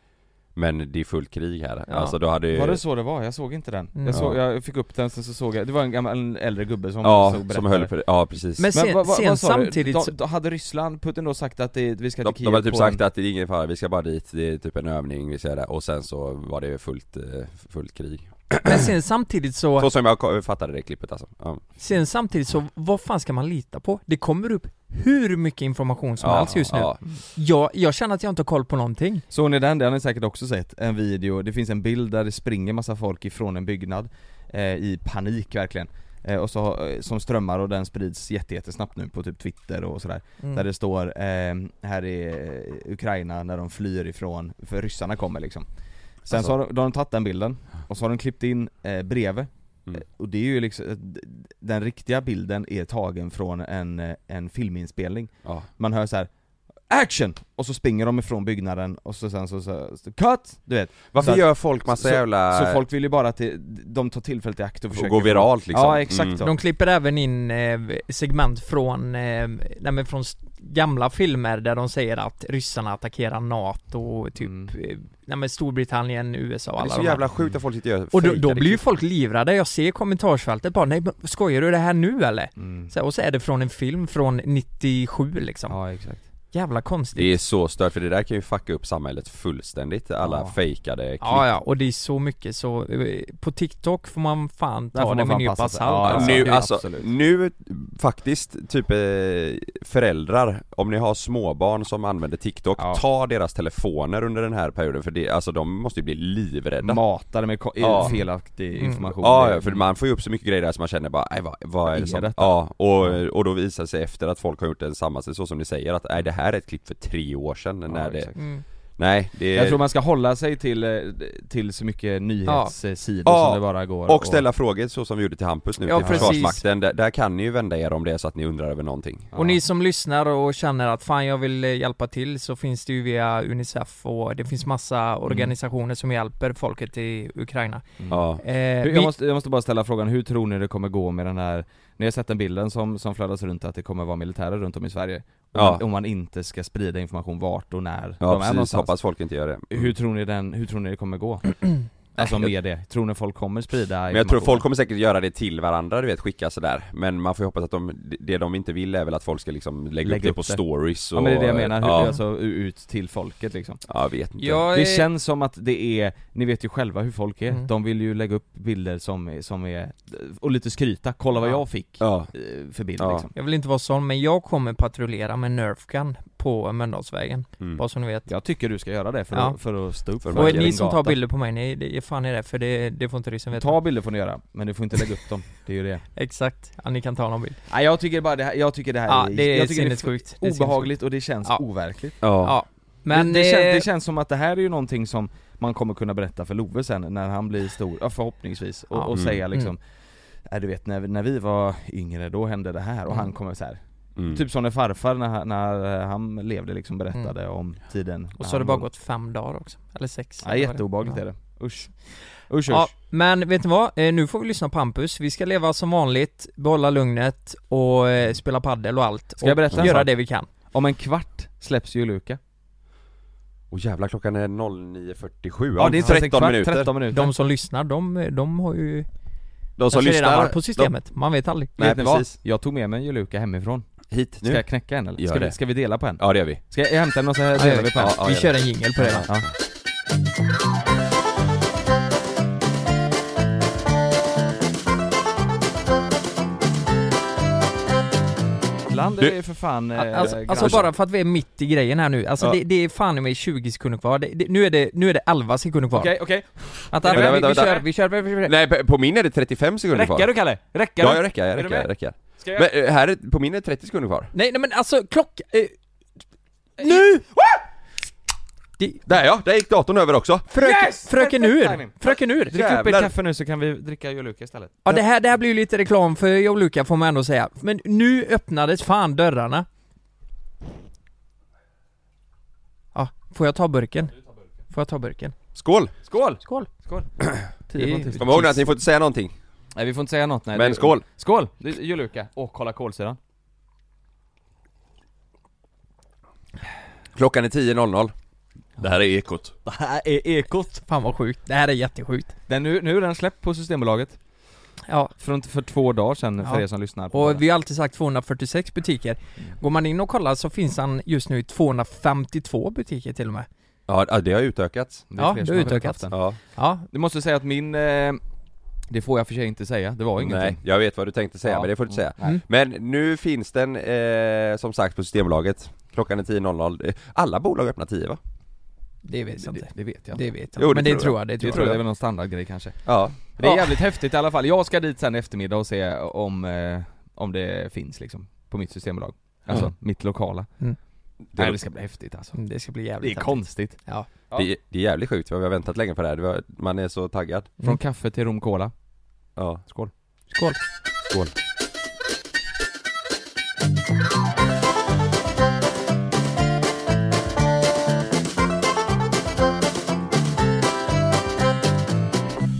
S2: Men det är fullt krig här,
S3: Ja.
S2: alltså då hade ju
S1: Var det så det var? Jag såg inte den.
S3: Mm.
S1: Jag, såg,
S2: Ja.
S1: jag fick upp den, sen så såg jag, det var en gammal en äldre gubbe som
S2: Ja,
S1: stod och
S2: som
S1: berättade.
S2: höll på det, ja precis
S3: Men sen,
S1: vad- vad-
S3: sen
S1: vad sa du?
S3: samtidigt så-
S1: de, de, Hade Ryssland, Putin då sagt att det, vi ska
S2: De,
S1: till Kiev
S2: de har typ
S1: på
S2: sagt
S1: en,
S2: att det är ingen fara, vi ska bara dit, det är typ en övning, vi ska där. och sen så var det fullt, eh, fullt krig
S3: Men sen samtidigt så,
S2: Så som jag ko- fattade det klippet alltså ja.
S3: sen samtidigt så, vad fan ska man lita på? Det kommer upp hur mycket information som
S2: ja,
S3: helst just nu.
S2: ja.
S3: Jag, jag känner att jag inte har koll på någonting.
S1: Såg ni den? Den har ni säkert också sett, en video, det finns en bild där det springer massa folk ifrån en byggnad eh, I panik verkligen eh, Och så, har- eh, som strömmar och den sprids jätte, jättesnabbt nu på typ Twitter och sådär
S2: Mm.
S1: Där det står, eh, här är Ukraina när de flyr ifrån, för ryssarna kommer liksom Sen
S2: Alltså-
S1: så har de, då har de tagit den bilden, och så har de klippt in eh, bredvid
S2: Mm.
S1: Eh, Och det är ju liksom, eh, d- den riktiga bilden är tagen från en, eh, en filminspelning
S2: Ja.
S1: man hör så här. Action! Och så springer de ifrån byggnaden och så sen så, så, så cut! Du vet,
S2: Varför
S1: Så-
S2: gör folk massa
S1: så-
S2: jävla...
S1: så folk vill ju bara att det, de tar tillfället i akt och försöker
S2: går viralt liksom?
S1: Ja exakt
S2: Mm.
S1: så.
S3: De klipper även in eh, segment från, eh, nej, men från s- gamla filmer där de säger att ryssarna attackerar NATO och typ,
S1: Mm.
S3: eh, nej, men Storbritannien, USA och
S2: Det är
S3: alla
S2: så
S3: de här.
S2: jävla sjukt att folk sitter och liksom. gör
S3: Och då,
S2: fejkade
S3: då blir ju
S2: klipp.
S3: folk livrädda, jag ser i kommentarsfältet bara nej men skojar du det här nu eller?
S1: Mm.
S3: Så, här, och så är det från en film från 97 liksom.
S1: Ja exakt.
S3: Jävla
S2: Det
S3: konstigt.
S2: är så stört för det där kan ju fucka upp samhället fullständigt, alla
S1: Ja.
S2: fejkade klipp
S3: Ja, ja, och det är så mycket så, eh, på TikTok får man fan
S1: Där
S3: ta
S1: får
S3: det
S1: man
S3: med
S1: fan
S3: nypa
S1: passa sig.
S3: salt
S1: Ja,
S2: Ja,
S1: alltså.
S2: nu,
S1: det-
S2: alltså,
S1: absolut.
S2: nu faktiskt, typ eh, föräldrar, om ni har småbarn som använder TikTok,
S1: Ja.
S2: ta deras telefoner under den här perioden för det, alltså de måste ju bli livrädda
S1: Matade med ko-
S2: Ja.
S1: felaktig
S3: Mm.
S1: information.
S2: Ja, ja, för man får ju upp så mycket grejer där som man känner bara, nej vad, vad är det
S1: är
S2: som...
S1: detta?"
S2: Ja, och, och då visar det sig efter att folk har gjort en sammanställning, så som ni säger, att nej det här är ett klipp för tre år sedan
S1: Ja,
S2: när det,
S1: exakt.
S3: Mm.
S2: nej det
S1: Jag tror man ska hålla sig till, eh, till så mycket nyhetssidor
S2: Ja.
S1: som det bara går.
S2: Och ställa frågor så som vi gjorde till Hampus nu
S3: Ja,
S2: till
S3: precis.
S2: Försvarsmakten, där, där kan ni ju vända er om det är så att ni undrar över någonting
S3: Och ni som lyssnar och känner att fan jag vill eh, hjälpa till så finns det ju via Unicef och det finns massa organisationer som hjälper folket i Ukraina.
S1: Mm.
S2: Ja,
S3: Eh,
S1: Hur-
S3: vi-
S1: Jag måste, jag måste bara ställa frågan, hur tror ni det kommer gå med den här, ni har sett den bilden som, som flödas runt att det kommer vara militärer runt om i Sverige? Om,
S2: Ja.
S1: man, om man inte ska sprida information vart och när de
S2: ja
S1: är
S2: precis,
S1: någonstans.
S2: hoppas folk inte gör det
S1: Hur tror ni den, hur tror ni det kommer gå? alltså
S2: Nej,
S1: med det, tror ni folk kommer sprida
S2: Men jag tror folk kommer säkert göra det till varandra, du vet, skicka sådär Men man får ju hoppas att de, det de inte vill är väl att folk ska liksom lägga, upp det på stories och,
S1: Ja men det är det jag menar, hur,
S2: ja,
S1: alltså u- ut till folket liksom
S2: ja, jag vet inte
S3: jag
S1: Det
S3: är-
S1: känns som att det är, ni vet ju själva hur folk är,
S3: Mm.
S1: de vill ju lägga upp bilder som, är- som är, och lite skryta, kolla vad
S3: Ja.
S1: jag fick
S2: Ja,
S1: eh, för bild
S2: Ja.
S1: liksom
S3: Jag vill inte vara sån, men jag kommer patrullera med Nerfgun på Mölndalsvägen,
S2: mm.
S3: bara så ni vet.
S1: Jag tycker du ska göra det för,
S3: Ja.
S1: att, för att stå upp
S2: För
S1: för
S3: Och
S2: markera
S1: din
S3: ni som tar
S1: gata.
S3: bilder på mig, ni, det, ge fan i det, för det, det får inte ryssen veta.
S1: Ta bilder får ni göra, men du får inte lägga upp dem, det är ju det
S3: Exakt, ja, ni kan ta någon bild.
S1: Nej jag tycker bara det här, jag tycker det här
S3: Ja, det är
S1: jag tycker
S3: sinnessjukt.
S1: det
S3: Det
S1: är
S3: är
S1: obehagligt och det känns
S3: Ja.
S1: overkligt
S2: ja.
S3: Ja, men...
S1: det, det, känns,
S3: eh,
S1: det känns som att det här är ju någonting som man kommer kunna berätta för Love sen när han blir stor, ja, förhoppningsvis, och,
S3: Ja.
S1: och
S2: Mm.
S1: säga liksom "Nej, du vet när, vi- när vi var yngre då hände det här och han kommer så här.
S2: Mm.
S1: Typ som när farfar när, han- när han levde liksom berättade om tiden när
S3: Mm. Och så har
S1: han
S3: det bara
S1: var-
S3: gått fem dagar också, eller sex.
S1: Ja,
S3: eller vad det-
S1: jätteobehagligt
S3: Ja.
S1: är det, usch Usch usch
S3: Ja, men vet ni vad? Eh, nu får vi lyssna på Hampus. Vi ska leva som vanligt, behålla lugnet och eh, spela paddel och allt.
S1: Ska jag
S3: och
S1: berätta en
S3: göra
S1: sak?
S3: det vi kan.
S1: Om en kvart släpps ju Luka
S2: Och jävlar klockan är 09.47,
S1: Ja, det är inte ens en
S2: 13
S1: kvart,
S2: minuter
S1: 13 minuter
S3: De som lyssnar, de, de har ju
S2: De som
S3: kanske redan
S2: lyssnar,
S3: varit på systemet. Man vet aldrig.
S2: Nej,
S1: Vet ni vad?
S2: precis.
S1: Jag tog med mig en Luka hemifrån
S2: de, hit
S1: Ska
S2: nu
S1: jag knäcka en eller?
S2: Gör
S1: Ska vi,
S2: det.
S1: ska vi dela på en?
S2: Ja det gör vi
S1: Ska jag, jag hämta en och så delar vi på en?
S2: Ja,
S3: vi
S2: ja,
S3: kör en jingel på det va?
S1: Ja. Land är
S2: Du-
S1: ju för fan eh,
S3: Alltså, alltså
S1: grann.
S3: bara för att vi är mitt i grejen här nu, alltså
S2: Ja.
S3: det, det är fan i mig 20 sekunder kvar, det, det, nu, är det, nu är det 11 sekunder kvar.
S1: Okej, okej.
S3: Vänta,
S2: Vänta,
S3: vi,
S2: vänta,
S3: vi,
S2: vänta.
S3: kör, vi kör, vi kör, vi kör.
S2: Nej på- på min är det 35 sekunder kvar
S1: Räcker du Kalle? Räcker
S2: Ja
S1: du?
S2: jag räcker, jag
S1: du
S2: räcker, jag
S1: med?
S2: räcker
S1: Ska jag...
S2: Men eh, här, är- på min är det 30 sekunder kvar
S3: Nej, nej men alltså klocka... Eh, nu!
S2: Där ja, där gick datorn över också!
S3: Fröken,
S1: Yes!
S3: fröken
S1: Perfekt
S3: ur!
S1: timing.
S3: Fröken ur!
S1: Drick upp
S2: Jävlar.
S1: ett kaffe nu så kan vi dricka Joluka istället.
S3: Ja det här, det här blir ju lite reklam för Joe och Luca får man ändå säga. Men nu öppnades fan dörrarna. Ja, får jag ta burken? Får jag ta burken?
S2: Skål! Skål!
S3: Skål!
S1: Tio på
S3: Det-
S1: tisdag.
S2: Kom ihåg nu att ni får inte säga någonting,
S1: Nej vi får inte säga något nej.
S2: men
S1: Det-
S2: skål!
S1: Skål! Det är Joluka. Åh, kolla kolsyran.
S2: Klockan är 10.00 Det här är Ekot
S5: Det här är Ekot.
S3: Fan vad sjukt, det här är jättesjukt
S1: Den, nu, nu är den släppt på Systembolaget.
S3: Ja,
S1: Från, för två dagar sedan för
S3: Ja.
S1: er som lyssnar. På
S3: och
S1: den.
S3: vi har alltid sagt 246 butiker Går man in och kollar så finns han just nu i 252 butiker till och med
S2: Ja ja, det har utökats
S1: Det är
S3: ja,
S1: fler
S3: det
S1: som
S3: har
S1: har
S3: utökats.
S1: haft den.
S2: Ja,
S3: Ja,
S1: Du måste säga att min, eh, det får jag för sig inte säga, det var ingenting.
S2: nej jag vet vad du tänkte säga
S1: Ja.
S2: men det får du inte säga
S3: Mm.
S2: Men nu finns den eh, som sagt på Systembolaget Klockan är 10.00 Eh, Alla bolag öppnar 10 va?
S3: det vet jag
S1: Det,
S3: inte
S1: det vet jag inte.
S3: Det vet jag
S2: Jo,
S3: inte,
S2: det
S3: men det
S2: tror
S3: tror jag, det
S1: Det
S3: tror
S1: tror jag
S3: jag
S1: är väl någon standardgrej kanske.
S2: Ja
S1: Det är
S3: Ja.
S1: jävligt häftigt i alla fall. Jag ska dit sen i eftermiddag och se om, eh, om det finns liksom, på mitt systembolag. Alltså,
S2: Mm.
S1: mitt lokala. Det, Nej, det ska bli häftigt alltså.
S3: Mm. Det ska bli
S1: Det är
S3: jävligt häftigt.
S1: konstigt. Ja.
S2: Det, det är jävligt sjukt, vi har väntat länge på det här, det var, man är så taggad
S1: Från
S3: Mm.
S1: kaffe till rom cola.
S2: Ja
S1: Skål.
S3: Skål
S2: Skål.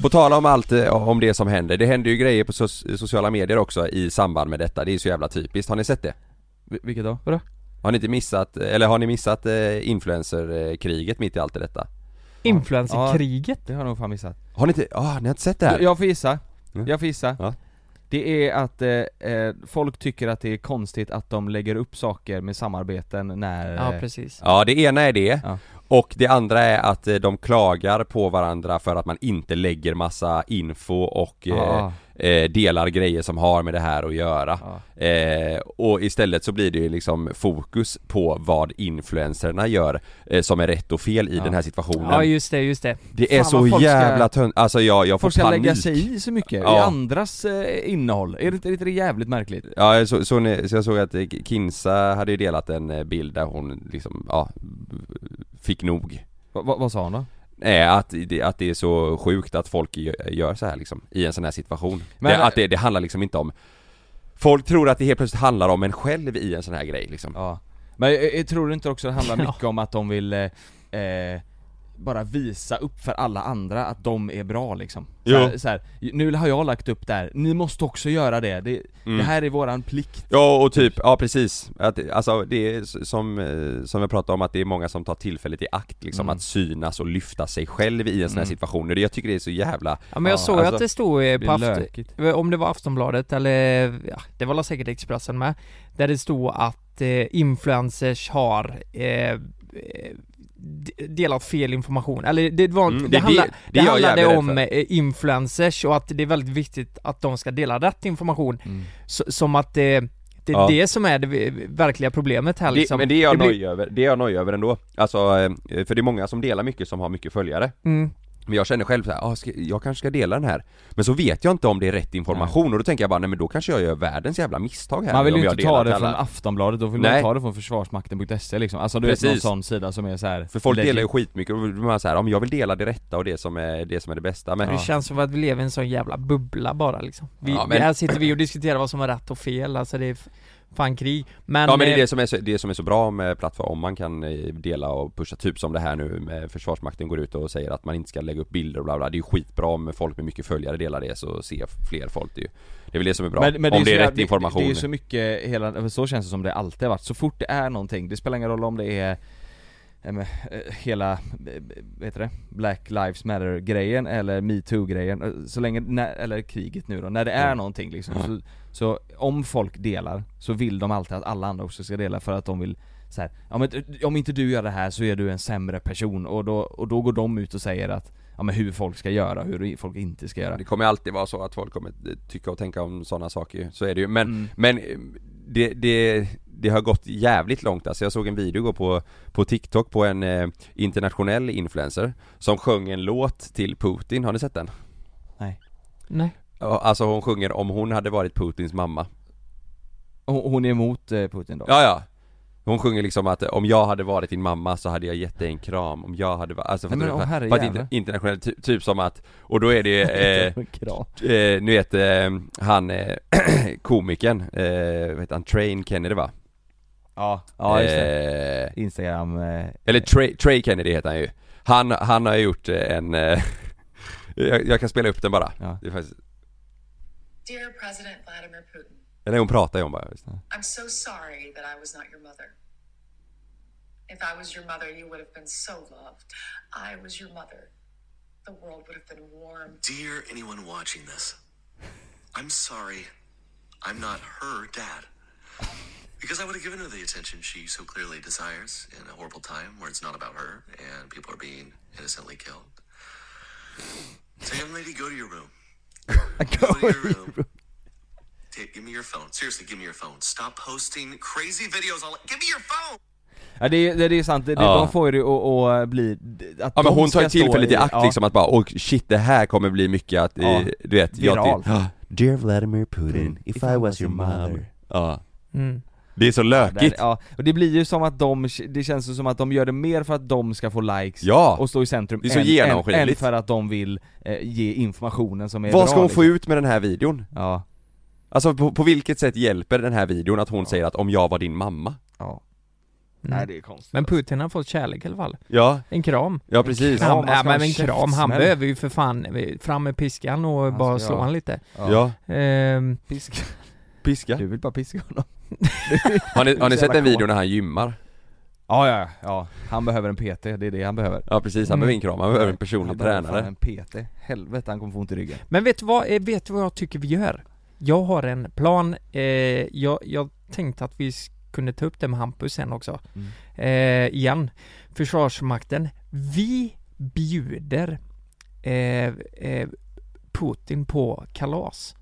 S2: På tala om allt eh, om det som händer, det händer ju grejer på so- sociala medier också i samband med detta, det är så jävla typiskt, har ni sett det?
S1: Vil- Vilket då? Vadå?
S2: Har ni inte missat, eller har ni missat eh, influencerkriget mitt i allt i detta?
S3: Influencerkriget?
S1: Det har jag nog fan missat.
S2: Har ni inte, ah, ni har inte sett det här?
S1: Jag får gissa.
S2: Mm.
S1: Jag får gissa.
S2: Ja.
S1: Det är att eh, eh, folk tycker att det är konstigt att de lägger upp saker med samarbeten när...
S3: Ja,
S1: eh,
S3: precis
S2: Ja, det ena är det.
S1: Ja.
S2: Och det andra är att eh, de klagar på varandra för att man inte lägger massa info och
S1: Ja,
S2: eh, eh, delar grejer som har med det här att göra.
S1: ja.
S2: Eh, och istället så blir det ju liksom fokus på vad influencerna gör eh, som är rätt och fel i
S1: Ja.
S2: den här situationen.
S3: Ja just det, just det
S2: det är
S1: Fan, vad
S2: så
S1: folk ska-
S2: jävla tönt. Alltså jag, jag får
S1: Folk ska
S2: panik.
S1: lägga sig i så mycket i
S2: Ja.
S1: andras eh, innehåll. Är det inte är det inte jävligt märkligt?
S2: Ja, jag så, så, ni, så jag såg att eh, Kinsa hade ju delat en eh, bild där hon liksom, ja, fick nog.
S1: Va, va, vad sa han då?
S2: Nej, att det, att det är så sjukt att folk gö- gör så här liksom, i en sån här situation.
S1: Men-
S2: det, att det, det handlar liksom inte om... Folk tror att det helt plötsligt handlar om en själv i en sån här grej liksom.
S1: Ja. Men jag, jag tror inte också det handlar
S3: Ja.
S1: mycket om att de vill eh, eh, bara visa upp för alla andra att de är bra liksom. Så här, så här, nu har jag lagt upp det här, ni måste också göra det. Det,
S2: Mm.
S1: det här är våran plikt.
S2: Ja, och typ, ja precis. Att, alltså det är s- som, eh, som jag pratade om, att det är många som tar tillfället i akt liksom,
S1: Mm.
S2: att synas och lyfta sig själv i en sån här
S1: Mm.
S2: situation. Och det, jag tycker det är så jävla...
S3: Ja men jag
S1: Ja,
S3: såg
S2: alltså,
S3: att det stod eh,
S1: Det
S3: på
S1: är
S3: Afton,
S1: lökigt.
S3: om det var Aftonbladet eller, ja, det var säkert Expressen med, där det stod att eh, influencers har eh, eh, d- delat fel information, eller det var,
S2: Mm,
S3: det,
S2: det-
S3: handla,
S2: det-
S3: det,
S2: det är jag
S3: handlade
S2: jävligt rädd
S3: om eh, influencers och att det är väldigt viktigt att de ska dela rätt information,
S1: Mm.
S3: så, som att eh, det är
S2: Ja.
S3: det som är det v- verkliga problemet här liksom.
S2: det, men det är jag
S3: blir-
S2: nöjd över, det är jag nöjd över ändå. Alltså, eh, för det är många som delar mycket som har mycket följare.
S3: mm,
S2: Men jag känner själv så här, ah, ska, jag kanske ska dela den här Men så vet jag inte om det är rätt information och då tänker jag bara, nej men då kanske jag gör världens jävla misstag här
S1: Man vill
S2: om
S1: ju
S2: jag
S1: inte ta
S2: delar
S1: det
S2: till
S1: från
S2: alla.
S1: Aftonbladet, då vill man
S2: Nej.
S1: ju ta det från försvarsmakten.se liksom. Alltså du vet någon
S2: Precis.
S1: sån sida som är så här.
S2: För folk
S1: legit.
S2: delar ju skitmycket och då blir man så här, om jag vill dela det rätta och det som är det, som är det bästa men
S3: Det känns som att vi lever i en sån jävla bubbla bara liksom. Vi,
S2: Ja, men-
S3: Här sitter vi och diskuterar vad som är rätt och fel, alltså det är f- fan krig. Men,
S2: Ja men det är
S3: eh,
S2: det som är, så, det som är så bra med plattform, om man kan eh, dela och pusha, typ som det här nu med Försvarsmakten går ut och säger att man inte ska lägga upp bilder och bla bla Det är ju skitbra om folk med mycket följare delar det så ser fler folk det är ju Det är väl det som är bra, om det
S1: så
S2: är
S1: jävla-
S2: rätt information
S1: Det, det är så mycket, hela, så känns det som det alltid har varit. Så fort det är någonting, det spelar ingen roll om det är eh, men, eh, Hela, eh, vad heter det? Black Lives Matter grejen eller metoo grejen, Eh, så länge, när, eller kriget nu då, när det är
S2: Mm.
S1: någonting liksom
S2: Ja.
S1: så, så om folk delar, så vill de alltid att alla andra också ska dela för att de vill så här, ja, men, eh, om inte du gör det här så är du en sämre person och då, och då går de ut och säger att Ja men hur folk ska göra, hur folk inte ska göra
S2: Det kommer alltid vara så att folk kommer eh, tycka och tänka om sådana saker ju. så är det ju. Men,
S1: Mm.
S2: men eh, det, det, det har gått jävligt långt alltså. Jag såg en video igår på, på TikTok på en eh, internationell influencer som sjöng en låt till Putin, har ni sett den?
S3: Nej.
S2: Ja, Alltså hon sjunger om hon hade varit Putins mamma.
S1: Hon, hon är emot eh, Putin då?
S2: Ja, ja. Hon sjunger liksom att eh, om jag hade varit din mamma så hade jag gett dig en kram, om jag hade varit, alltså
S1: Nej, men,
S2: du?
S1: åh,
S2: För-
S1: herre
S2: för att
S1: jävlar.
S2: inter- internationellt, ty- typ som att, och då är det eh,
S1: Kram.
S2: eh, nu vet eh, han eh, komikern, eh, vad heter han, Train Kennedy va?
S1: Ja, ja just det.
S2: Eh,
S1: Instagram, eh,
S2: eller Trey, Trey Kennedy heter han ju. Han, han har gjort eh, en, eh, jag, jag kan spela upp den bara.
S1: Ja.
S2: Det är faktiskt,
S6: Dear President Vladimir Putin,
S2: eller hon pratar ju om bara. just det.
S6: I'm so sorry that I was not your mother. If I was your mother, you would have been so loved. I was your mother. The world would have been warm.
S5: Dear anyone watching this, I'm sorry I'm not her dad. Because I would have given her the attention she so clearly desires in a horrible time where it's not about her and people are being innocently killed. So, young lady, go to your room. Go to your room. Take, give me your phone. Seriously, give me your phone. Stop posting crazy videos. All give me your phone.
S1: Ja, det, är- det, det är sant, det, det-
S2: Ja.
S1: de får ju det att att bli... Att
S2: Ja men
S1: de
S2: hon tar
S1: ska stå
S2: ju tillfället i akt
S1: ja.
S2: liksom att bara oh, shit det här kommer bli mycket att, eh,
S1: Ja,
S2: du vet,
S1: viralt.
S2: jag
S7: Dear Vladimir Putin, if I was your mother.
S2: ja.
S3: Mm.
S2: Det är så
S1: Där,
S2: lökigt!
S1: ja, och det blir ju som att de, det känns ju som att de gör det mer för att de ska få likes
S2: Ja.
S1: och stå i centrum
S2: Det är så
S1: än-
S2: genomskinligt.
S1: än, än för att de vill eh, ge informationen som är bra
S2: Vad ska hon få
S1: liksom.
S2: ut med den här videon?
S1: Ja,
S2: Alltså på, på vilket sätt hjälper den här videon att hon säger att om jag var din mamma?
S1: ja.
S3: Mm.
S1: Nej det är konstigt
S3: Men Putin har fått kärlek i alla fall.
S2: Ja,
S3: En kram.
S2: ja precis.
S1: Ja,
S3: Ja,
S1: man ska
S3: ja,
S1: ha
S3: men en
S1: en
S3: kram, han
S1: käftsmäll.
S3: behöver ju för fan eh, fram med piskan och
S1: Han
S3: bara
S1: ska-
S3: slå
S1: ja.
S3: han lite.
S1: alltså. ja.
S2: Ja,
S3: Ehm,
S1: Piska.
S2: piska.
S1: Du vill bara piska honom
S2: Typ. Har ni, har ni
S1: Så jävla
S2: sett en video
S1: kåt.
S2: när han gymmar?
S1: Ja ja, ja, ja, han behöver en PT, det är det han behöver
S2: Ja precis, han
S3: Mm.
S2: behöver en kram, han behöver en
S1: han
S2: personlig
S1: behöver
S2: tränare.
S1: fan en PT, helvete han kommer få ont i ryggen
S3: men vet du, vad, eh, vet du vad jag tycker vi gör? Jag har en plan, eh, jag, jag tänkte att vi s- kunde ta upp det med Hampus sen också.
S1: Mm.
S3: Eh, igen, Försvarsmakten. Vi bjuder eh, eh, Putin på kalas.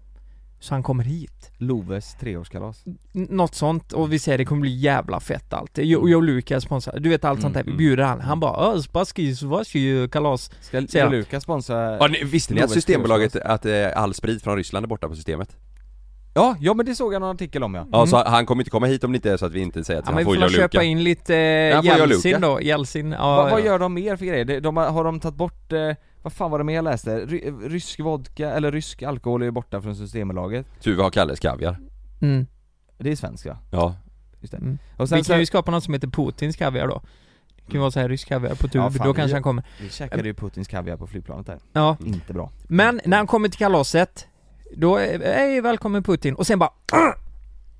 S3: Så han kommer hit.
S1: Loves treårskalas
S3: N- Något sånt och vi säger det kommer bli jävla fett allt. Jag och jag och Lukas sponsrar, du vet allt sånt där. Vi
S2: Mm,
S3: bjuder han. Han bara 'Öh, spaski, svasky, kalas'
S1: Ska,
S3: Ser
S1: ska
S3: jag.
S1: Lukas sponsra?
S2: Ja, ni, visste ni att
S1: Lovets
S2: Systembolaget,
S1: treårskalas.
S2: att eh, all sprit från Ryssland är borta på
S1: Mm.
S2: systemet?
S1: Ja, ja men det såg jag någon artikel om ja
S2: Ja, så han kommer inte komma hit om det inte är så att vi inte säger att
S3: Ja,
S2: han
S3: men
S2: får
S3: vi får
S2: ju
S3: köpa
S2: Luka.
S3: in lite eh,
S2: han får jag Luka.
S3: Jeltsin då, Jeltsin, ja,
S1: Vad- vad
S3: ja.
S1: gör de mer för grejer? De, de, har har de tagit bort, eh, vad fan var det mer jag läste? Ry, eh, rysk vodka, eller rysk alkohol är ju borta från Systembolaget
S2: Tuve har Kalles kaviar.
S3: Mm.
S1: Det är svenska,
S2: Ja.
S1: just det.
S3: Mm.
S1: Och
S3: Vi
S1: sen,
S3: kan
S1: sen
S3: ju skapa något som heter Putins kaviar då Det kan ju vara så här rysk kaviar på tur,
S1: Ja,
S3: för
S1: fan,
S3: då kanske
S1: vi-
S3: han kommer
S1: vi käkade ju Putins kaviar på flygplanet där,
S3: Ja,
S1: inte bra
S3: men när han kommer till kalaset Då, är- hej välkommen Putin, och sen bara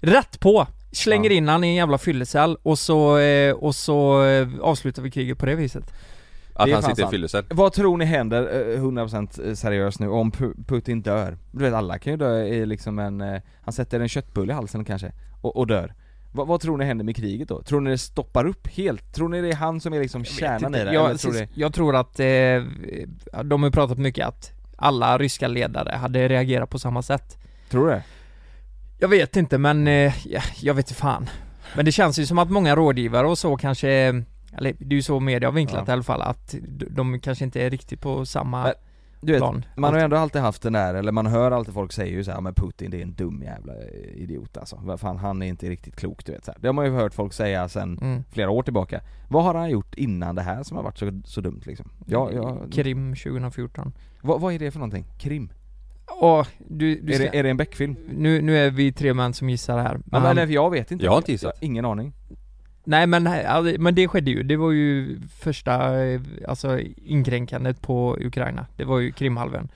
S3: Rätt på! Slänger
S1: Ja.
S3: in han i en jävla fyllecell och så, eh, och så eh, avslutar vi kriget på det viset
S2: Att
S1: Det är
S2: han
S1: fan
S2: sitter i
S1: sant.
S2: fyllecell.
S1: Vad tror ni händer, eh, 100% seriöst nu, om Pu- Putin dör? Du vet alla kan ju dö i liksom en, eh, han sätter en köttbulle i halsen kanske, och, och dör vad, vad tror ni händer med kriget då? Tror ni det stoppar upp helt? Tror ni det är han som är liksom kärnan i det?
S3: jag,
S1: eller tror
S3: sist-
S1: det...
S3: jag tror att, eh, de har ju pratat mycket att alla ryska ledare hade reagerat på samma sätt
S1: Tror du det?
S3: Jag vet inte men, eh, ja, jag vet inte fan. Men det känns ju som att många rådgivare och så kanske, eller det är ju så media har vinklat
S1: Ja.
S3: i alla fall, att d- de kanske inte är riktigt på samma
S1: Men, Du vet,
S3: plan.
S1: Man har ju ändå alltid haft den där, eller man hör alltid folk säger ju så här, men Putin det är en dum jävla eh, idiot alltså. Vad fan, han är inte riktigt klok du vet så här. Det har man ju hört folk säga sen
S3: Mm.
S1: flera år tillbaka. Vad har han gjort innan det här som har varit så, så dumt liksom? Ja, ja,
S3: Krim 2014.
S1: vad, vad är det för någonting? Krim?
S3: Åh, du, du
S1: Är
S3: ska,
S1: det, är det en Beck-film?
S3: nu, nu är vi tre män som gissar här.
S1: Ja,
S3: Men,
S1: men, eller, jag vet inte.
S2: Jag har inte gissat.
S1: Jag har Ingen aning.
S3: nej men, ja, det- men det skedde ju, det var ju första, eh, alltså inkränkandet på Ukraina. Det var ju Krimhalvön.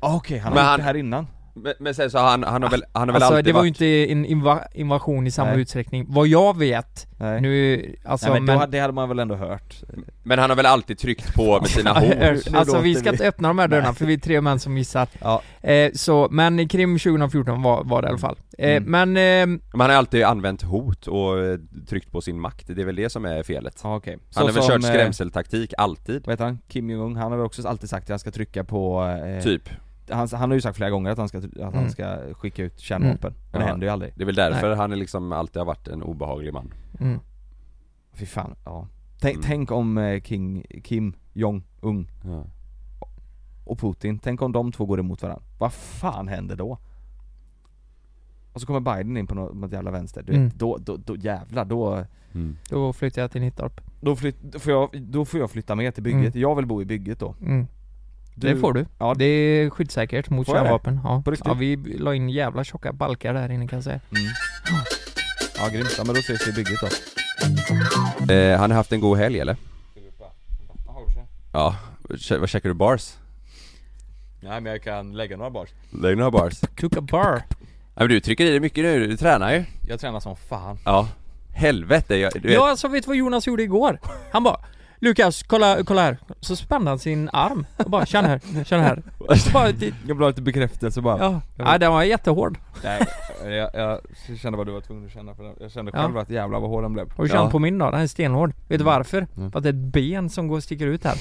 S1: Ah, Okej, han
S2: Men
S1: har gjort
S2: han-
S1: det här innan.
S2: Men, men sen så har han, han har väl, han har väl
S3: Alltså
S2: alltid
S3: det var ju
S2: varit...
S3: inte en inva- invasion i samma
S1: Nej.
S3: utsträckning, vad jag vet.
S1: Nej.
S3: Nu, alltså
S1: Nej men,
S3: men
S1: Då, hade- det hade man väl ändå hört?
S2: Men han har väl alltid tryckt på med sina hot.
S1: hot.
S3: Alltså vi ska
S1: låter
S3: inte öppna de här dörrarna för vi är tre män som gissar.
S1: Ja.
S3: Eh, så, men Krim 2014 var, var det i alla fall. Eh,
S1: Mm.
S3: Men, eh,
S2: Men han har alltid använt hot och eh, tryckt på sin makt, det är väl det som är felet.
S1: Ah, Okej.
S2: Han har
S1: Så
S2: väl
S1: som,
S2: kört
S1: eh,
S2: skrämseltaktik, alltid.
S1: Vad heter han? Kim Jong-Un, han har väl också alltid sagt att han ska trycka på... Eh,
S2: Typ.
S1: han, han har ju sagt flera gånger att han ska, att han
S3: Mm.
S1: ska skicka ut kärnvapen, men det
S2: Ja.
S1: händer ju aldrig.
S2: Det är väl därför han är liksom alltid har varit en obehaglig man.
S3: mm,
S1: Fy fan, ja. Tänk,
S2: Mm.
S1: tänk om eh, King, Kim Jong-Un
S2: Ja.
S1: och Putin, tänk om de två går emot varandra. Vad fan händer då? Och så kommer Biden in på något, något jävla vänster, du
S3: Mm.
S1: vet, då, då, då jävlar, då,
S2: Mm.
S3: då flyttar jag till Nittorp.
S1: då, flytt, då, får jag, då får jag flytta med till bygget, jag vill bo i bygget då.
S3: Mm. Det får du.
S1: Ja,
S3: Det är skyddssäkert mot
S1: Får jag det?
S3: kärnvapen. Ja.
S1: På riktigt?
S3: ja, vi la in jävla tjocka balkar där inne kan jag säga.
S1: Mm. Ja grymt, ja, men då ses vi i bygget då.
S2: Eh, han har haft en god helg eller? Ja, Kä- vad käkar du bars?
S1: Nej men jag kan lägga några bars.
S2: Lägg några bars.
S3: Cooka bar.
S2: Ja, men du trycker i dig mycket nu, du tränar ju.
S1: Jag tränar som fan.
S2: Ja. helvete, jag, du vet,
S3: Ja alltså vet du vad Jonas gjorde igår? Han bara Lukas, kolla, kolla här. Så spände han sin arm och bara känn här, känn här. Så bara, det,
S1: Jag vill ha lite bekräftelse bara
S3: ja. ja, den var jättehård.
S1: Nej, jag, jag kände vad du var tvungen att känna för den. Jag kände
S3: Ja.
S1: själv att jävlar vad hård den blev
S3: Har du
S2: Ja. Mm.
S3: känt på min då? Den är stenhård. Vet du varför? För att det är ett ben som går och sticker ut här.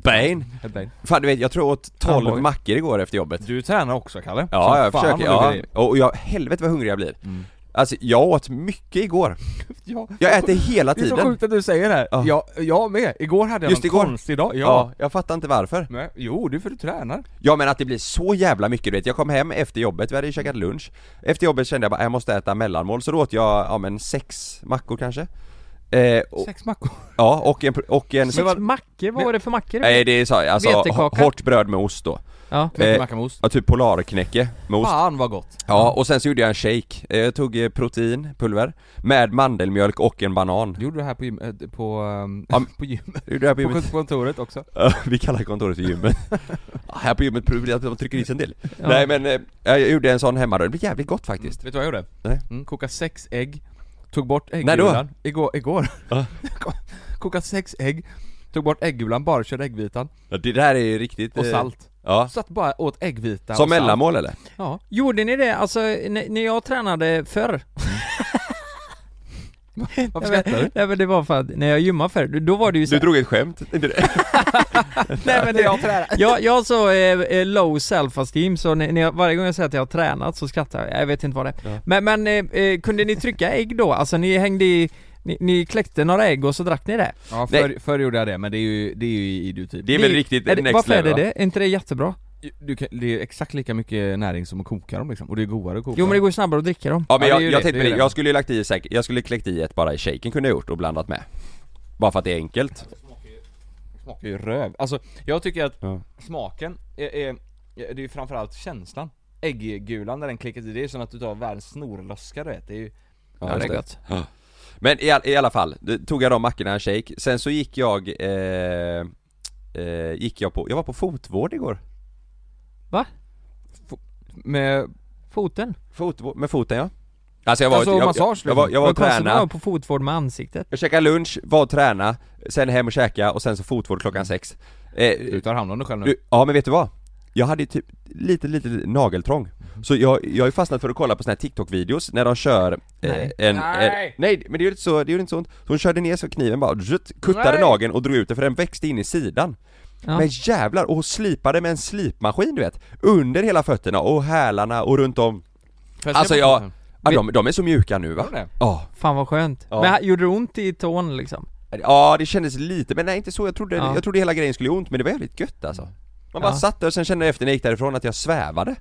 S2: Bane.
S1: Ett ben.
S2: Fan du vet, jag tror jag åt 12
S3: Armbåge.
S2: mackor igår efter jobbet
S1: Du tränar också Kalle?
S2: Ja,
S1: Som
S2: jag
S1: fan
S2: försöker,
S1: vad
S2: ja.
S1: du grejer.
S2: Och jag, helvete vad hungrig jag blir
S1: Mm.
S2: Alltså jag åt mycket igår
S1: ja.
S2: Jag äter hela
S1: Det är
S2: tiden
S1: så sjukt att du säger det här,
S2: Ja.
S1: ja. jag, med, igår hade jag
S2: Just
S1: någon
S2: igår.
S1: konstig dag, ja,
S2: Ja, jag fattar inte varför
S1: Men, Jo, det är för att du tränar
S2: Ja men att det blir så jävla mycket du vet, jag kom hem efter jobbet, vi hade ju käkat lunch Efter jobbet kände jag bara, jag måste äta mellanmål, så då åt jag, ja men sex mackor kanske eh, och,
S1: Sex mackor
S2: Ja, och en, och en
S3: Sex mackor, vad var det för mackor?
S2: Nej det är så, alltså
S3: Vetekaka.
S2: h- hårt bröd med ost då
S3: Ja.
S1: Knäckemacka
S2: Eh,
S1: med ost
S2: Ja typ polarknäcke med ost
S1: Fan vad gott!
S2: Ja, och sen så gjorde jag en shake. Eh, Jag tog eh, protein, pulver, med mandelmjölk och en banan.
S1: Du gjorde det här på, gym, eh, på, ehm,
S2: Ja, men- Mm.
S1: på gymmet,
S2: Det gjorde jag på
S1: på
S2: gymmet.
S1: kontoret också
S2: Ja, Vi kallar kontoret för gymmet. Ja, här på gymmet provar vi att de trycker i sig en del.
S3: Ja.
S2: Nej men, eh, jag gjorde en sån hemma då. Det blir jävligt gott faktiskt.
S1: Vet du vad jag gjorde?
S2: Nej.
S1: Mm, koka sex ägg, tog bort
S2: När då?
S1: äggulan Igår, igår Koka sex ägg, tog bort äggulan, bara körde äggvitan
S2: Ja, det där är ju riktigt...
S1: och
S2: eh,
S1: salt
S2: Ja.
S1: Satt bara åt äggvita
S2: Som
S1: och salt.
S2: mellanmål eller?
S1: Ja,
S3: Gjorde ni det? Alltså, n- när jag tränade förr
S1: varför skrattar du?
S3: Nej men det var för att, när jag gymmade förr, då var det ju så
S2: Du drog ett skämt. inte det?
S3: Nej men det, jag tränar Jag, jag har så eh, eh, low self-esteem så när, när jag, varje gång jag säger att jag har tränat så skrattar jag, jag vet inte vad det är Men, men eh, eh, kunde ni trycka ägg då? Alltså ni hängde i, ni, ni kläckte några ägg och så drack ni det?
S1: Ja,
S2: Nej.
S1: förr, förr gjorde jag det, men det är ju, det är ju idioti
S2: Det är väl riktigt
S3: är det-
S2: next
S3: Varför är
S2: level
S3: det
S2: va?
S3: det? Är inte det jättebra?
S1: du kan, det är exakt lika mycket näring som att koka dem liksom, och det är godare att koka
S3: Jo men det
S1: dem.
S3: går ju snabbare att dricka dem
S2: Ja men
S1: Ja,
S2: jag,
S1: det är ju
S2: jag
S1: det,
S2: tänkte
S1: det
S2: på
S1: är
S2: det,
S1: det.
S2: jag skulle ju lagt i säkert, jag skulle kläckt i ett bara i shaken kunde jag gjort och blandat med. Bara för att det är enkelt.
S1: smakar ju röv. Alltså, jag tycker att
S2: Ja.
S1: smaken är, är, det är ju framförallt känslan. Ägggulan när den klickar i, det är som att du tar världens snorlöska du vet. Det är ju...
S3: Ja, det är
S2: just
S3: gott
S2: Men i, all, i alla fall, då tog jag de mackorna en shake, sen så gick jag eh, eh, Gick jag på, jag var på fotvård igår
S3: Va?
S1: Med...
S3: Foten?
S2: Fotvård, med foten ja Alltså jag var,
S1: Alltså,
S2: jag,
S1: massage, liksom.
S2: jag, jag var, jag var och
S3: Vad konstigt man
S2: träna,
S3: var på fotvård med ansiktet
S2: jag käkade lunch, var och träna Sen hem och käka och sen så fotvård klockan sex eh,
S1: Du tar hand om dig själv nu.
S2: du, Ja men vet du vad? Jag hade ju typ lite, lite nageltrång Så jag, jag har ju fastnat för att kolla på såna här TikTok-videos när de kör eh,
S3: Nej.
S2: en...
S3: Nej.
S2: Eh, nej! men det gjorde inte så, det gjorde inte så ont Så hon körde ner så kniven bara, zzt, kuttade
S3: Nej.
S2: nageln och drog ut den för den växte in i sidan
S3: Ja.
S2: Men jävlar, och hon slipade med en slipmaskin du vet Under hela fötterna och hälarna och runt om
S1: Får se
S2: Alltså
S1: på
S2: jag...
S1: foten?
S2: Ja, de, de är så mjuka nu va?
S1: Gör det?
S2: Ja,
S3: Fan vad skönt
S2: Ja.
S3: Men gjorde det ont i tån liksom?
S2: ja det kändes lite, men nej inte så, jag trodde,
S3: Ja.
S2: jag trodde hela grejen skulle göra ont men det var jävligt gött alltså Man bara
S3: Ja.
S2: satt där och sen kände jag efter när jag gick därifrån att jag svävade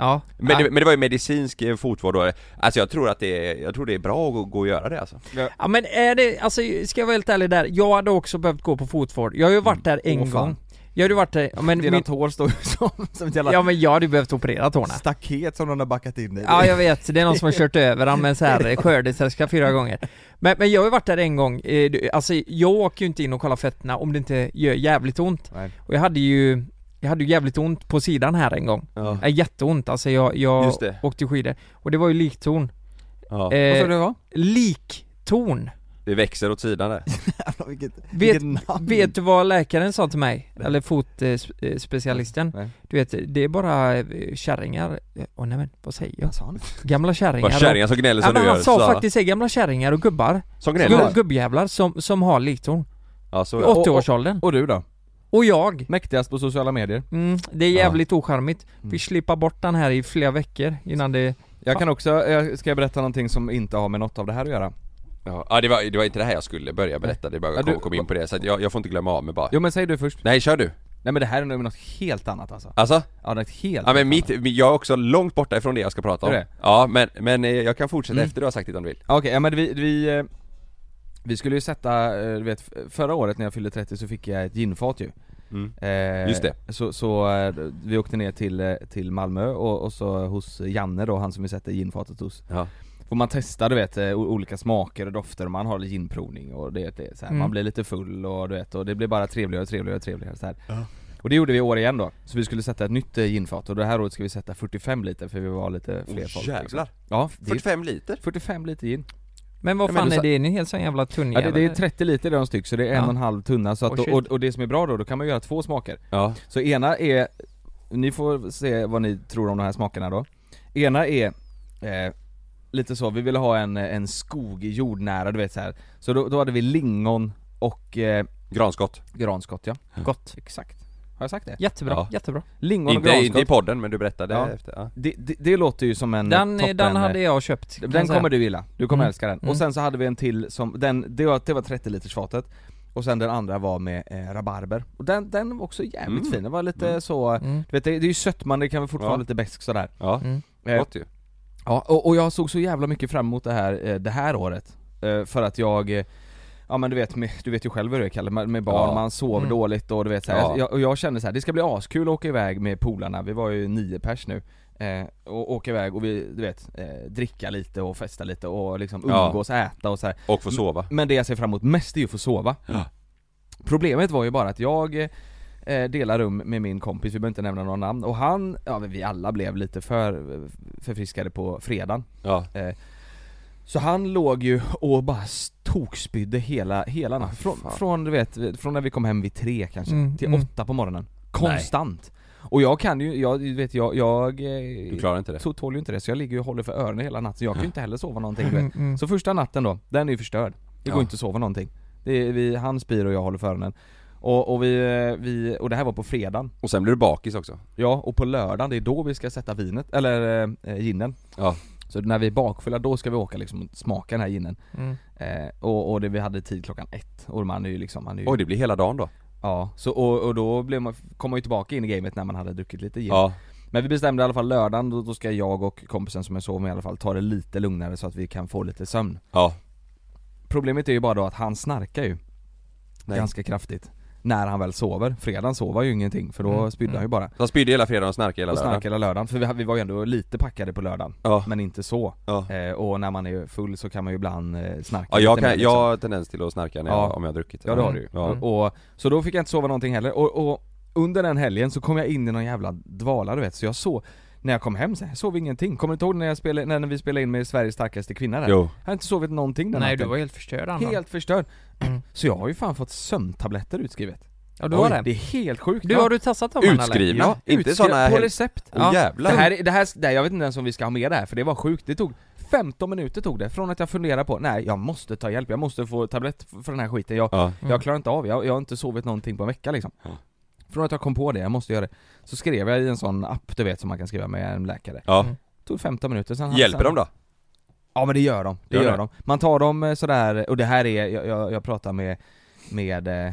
S3: Ja
S2: Men,
S3: ja.
S2: det, men det var ju medicinsk eh, fotvård då, alltså jag tror att det är, jag tror det är bra att gå- gå och göra det alltså
S3: Ja men är det, alltså ska jag vara helt ärlig där, jag hade också behövt gå på fotvård. Jag har ju varit där en
S1: Mm. Åh, fan.
S3: gång. Jag hade ju varit där, ja, men,
S1: Dina
S3: min,
S1: tår står ju som, som ett jävla
S3: ja, men jag hade ju behövt operera tårna.
S1: staket som någon har backat in i.
S3: Ja jag vet, det är någon som har kört över han med en så här skördetröska fyra gånger. Men, men jag har ju varit där en gång, Eh, du- alltså jag åker ju inte in och kollar fötterna om det inte gör jävligt ont.
S1: Nej.
S3: Och jag hade ju, jag hade ju jävligt ont på sidan här en gång.
S2: Ja,
S3: Äh, jätteont, alltså jag, jag
S2: Just det.
S3: åkte skidor. Och det var ju liktorn.
S2: ja.
S1: Vad sa du
S3: Eh,
S1: det var?
S3: liktorn.
S2: Det växer åt sidan där
S1: Jävlar, vilket,
S3: Vet,
S1: vilket namn.
S3: vet du vad läkaren sa till mig? Eller eh, fotspecialisten?
S1: Nej.
S3: Du vet, det är bara eh, kärringar, Eh, åh nej men vad säger jag?
S1: Vad sa han?
S3: Gamla kärringar
S2: Vad kärringar som gnäller
S3: och,
S2: som
S3: ja,
S2: du
S3: men
S2: gör
S3: Han sa
S2: Så-
S3: faktiskt det, gamla kärringar och gubbar,
S2: Som
S3: gubb,
S2: gnäller?
S3: gubbjävlar som, som har liktorn
S2: Ja, så
S3: I
S2: ja.
S3: 80-årsåldern.
S1: Och du då?
S3: Och jag,
S1: Mäktigast på sociala medier?
S3: mm, det är jävligt ocharmigt. Fick slippa bort den här i flera veckor innan det...
S1: Jag kan också, jag ska jag berätta någonting som inte har med något av det här att göra?
S2: Ja, ja det, var, det var inte det här jag skulle börja berätta, det bara
S1: Ja,
S2: jag
S1: du-
S2: kom, kom in på det så att jag, jag får inte glömma av mig bara
S1: Jo men säg du först.
S2: Nej kör du!
S1: Nej men det här är nog något helt annat alltså.
S2: Alltså?
S1: Ja något helt
S2: Ja men
S1: annat.
S2: mitt, jag är också långt borta ifrån det jag ska prata
S1: Är
S2: om
S1: det?
S2: Ja men, men eh, jag kan fortsätta efter du har sagt det om du vill
S1: Ja, Okej, ja men vi, vi, eh, vi skulle ju sätta, eh, du vet f- förra året när jag fyllde 30 så fick jag ett ginfat ju
S2: Mm.
S1: Eh,
S2: Just det.
S1: Så, så eh, vi åkte ner till, eh, till Malmö och, och så hos Janne då, han som vi sätter ginfatet hos
S2: Ja.
S1: Får man testa du vet eh, o- olika smaker och dofter och man har lite ginprovning och det, det är så här,
S3: Mm.
S1: man blir lite full och du vet och det blir bara trevligare och trevligare och trevligare så här. Och det gjorde vi i år igen då, så vi skulle sätta ett nytt eh, ginfat och det här året ska vi sätta 45 liter för vi var lite fler
S2: Åh,
S1: folk liksom.
S2: jävlar!
S1: Ja, det är
S2: 45 liter?
S1: 45 liter gin
S3: Men vad
S2: Ja,
S3: fan
S2: men du
S3: är
S2: sa-
S3: det? Är ni helt sån jävla
S1: Ja,
S3: tunnjävel?
S1: det, det är 30 liter i de styck så det är en
S3: Ja.
S1: och en halv tunna så att,
S3: Åh, shit.
S1: och, och det som är bra då, då kan man göra två smaker
S2: Ja,
S1: Så ena är, ni får se vad ni tror om de här smakerna då Ena är eh, lite så, vi ville ha en, en skog jordnära du vet så här. Så då, då hade vi lingon och eh,
S2: granskott
S1: granskott ja
S3: Gott.
S1: Exakt Har jag sagt det?
S3: Jättebra,
S2: Ja.
S3: jättebra.
S1: Lingon och
S2: inte, inte i
S1: granskott
S2: podden men du berättade
S1: Ja.
S2: efter ja.
S1: det, det, det låter ju som en
S3: Den, eh,
S1: toppen, eh,
S3: den hade jag köpt. kan
S1: Den
S3: jag säga.
S1: kommer du gilla, du kommer
S3: Mm.
S1: älska den.
S3: Mm.
S1: Och sen så hade vi en till som, den, det var, det var 30 liters fatet Och sen den andra var med eh, rabarber, och den, den var också jävligt
S2: Mm.
S1: fin, den var lite
S2: Mm.
S1: så,
S3: Mm.
S1: du vet det, det är ju sötman, det kan väl fortfarande
S2: Ja.
S1: vara lite bäsk sådär
S2: Ja,
S3: Mm.
S1: eh,
S2: gott ju
S1: Ja, och, och jag såg så jävla mycket fram emot det här, eh, det här året eh, För att jag eh, Ja men du vet, med, du vet ju själv hur det är Kalle, med med barn,
S2: Ja.
S1: man sover
S3: Mm.
S1: dåligt och du vet så här.
S2: Ja.
S1: Jag, och jag kände så här, det ska bli askul att åka iväg med polarna, vi var ju nio pers nu eh, Och åka iväg och vi, du vet, eh, dricka lite och festa lite och liksom
S2: Ja.
S1: umgås, äta och så här.
S2: Och få sova
S1: Men det jag ser fram emot mest är ju att få sova
S2: Ja.
S1: Problemet var ju bara att jag eh, delar rum med min kompis, vi behöver inte nämna några namn, och han, ja men vi alla blev lite för förfriskade på fredagen
S2: Ja,
S1: så han låg ju och bara s- tokspydde hela, hela natten. Från,
S2: fan.
S1: från, du vet, från när vi kom hem vid tre kanske,
S3: Mm,
S1: till
S3: mm.
S1: åtta på morgonen. Konstant. Och jag kan ju, jag, du vet jag, jag eh,
S2: du klarar inte det
S1: to- tål ju inte det så jag ligger ju och håller för öronen hela natten, jag kan ju inte heller sova någonting du
S3: Mm,
S1: vet.
S3: mm.
S1: Så första natten då, den är ju förstörd. Det går
S2: Ja.
S1: inte att sova någonting. Det är, vi, han spyr och jag håller för öronen. Och, och vi, eh, vi, och det här var på fredagen.
S2: Och sen blir du bakis också
S1: Ja, och på lördagen, det är då vi ska sätta vinet, eller eh, ginen.
S2: Ja,
S1: Så när vi är bakfulla, då ska vi åka liksom och smaka den här ginen.
S3: Mm.
S1: Eh, och och det, vi hade tid klockan ett, och man är ju liksom, man är ju,
S2: oj det blir hela dagen då
S1: ja, så, och, och då blev man, kom man ju tillbaka in i gamet när man hade druckit lite gin
S2: Ja,
S1: Men vi bestämde i alla fall lördagen, då, då ska jag och kompisen som jag sov med i alla fall ta det lite lugnare så att vi kan få lite sömn
S2: ja,
S1: Problemet är ju bara då att han snarkar ju
S2: Nej.
S1: Ganska kraftigt När han väl sover, fredagen sover ju ingenting för då
S3: Mm,
S1: spydde han
S3: mm.
S1: ju bara
S2: så han spydde hela fredagen och snarkade hela
S1: Och
S2: lördagen
S1: snarkade hela lördagen, för vi, vi var ju ändå lite packade på lördagen
S2: Ja,
S1: Men inte så,
S2: ja
S1: eh, och när man är full så kan man ju ibland eh, snarka
S2: Ja, jag,
S1: lite mer,
S2: kan,
S1: liksom.
S2: jag har tendens till att snarka när jag,
S1: Ja.
S2: om jag har Mm. druckit
S1: Ja det har du ju.
S2: ja.
S1: Mm. Och, så då fick jag inte sova någonting heller, och, och under den helgen så kom jag in i någon jävla dvala du vet, så jag sov när jag kom hem sen, jag sov ingenting. Kommer du inte ihåg när, jag spelade, när vi spelade in med Sveriges starkaste kvinna där?
S2: Jo,
S1: Jag har inte sovit någonting den
S3: Nej du
S1: natten.
S3: var helt förstörd Anna.
S1: Helt förstörd.
S3: Mm.
S1: Så jag har ju fan fått sömntabletter utskrivet.
S3: Ja du har
S1: Oj,
S3: det.
S1: det är helt sjukt.
S3: Du
S1: Ja.
S3: har du tassat dem Anna, eller?
S2: utskrivna,
S1: Ja,
S2: inte
S1: utskri-
S2: sådana
S1: På
S2: helt...
S1: recept.
S2: Åh
S1: Det
S2: jävlar!
S1: här, det här, det här, jag vet inte ens om vi ska ha med det här för det var sjukt, det tog 15 minuter tog det från att jag funderade på, nej jag måste ta hjälp, jag måste få tablett f- för den här skiten, jag,
S2: Ja,
S1: jag klarar inte av, jag, jag har inte sovit någonting på en vecka liksom
S2: Mm. Ja.
S1: Från att jag kom på det, jag måste göra det Så skrev jag i en sån app du vet som man kan skriva med en läkare
S2: ja.
S3: Mm.
S1: Tog 15 minuter sen
S2: Hjälper
S1: sen,
S2: de då?
S1: Ja men det gör de, det
S2: Gör
S1: gör,
S2: det?
S1: de Man tar dem eh, sådär, och det här är, jag, jag, jag pratar med med, eh, eh,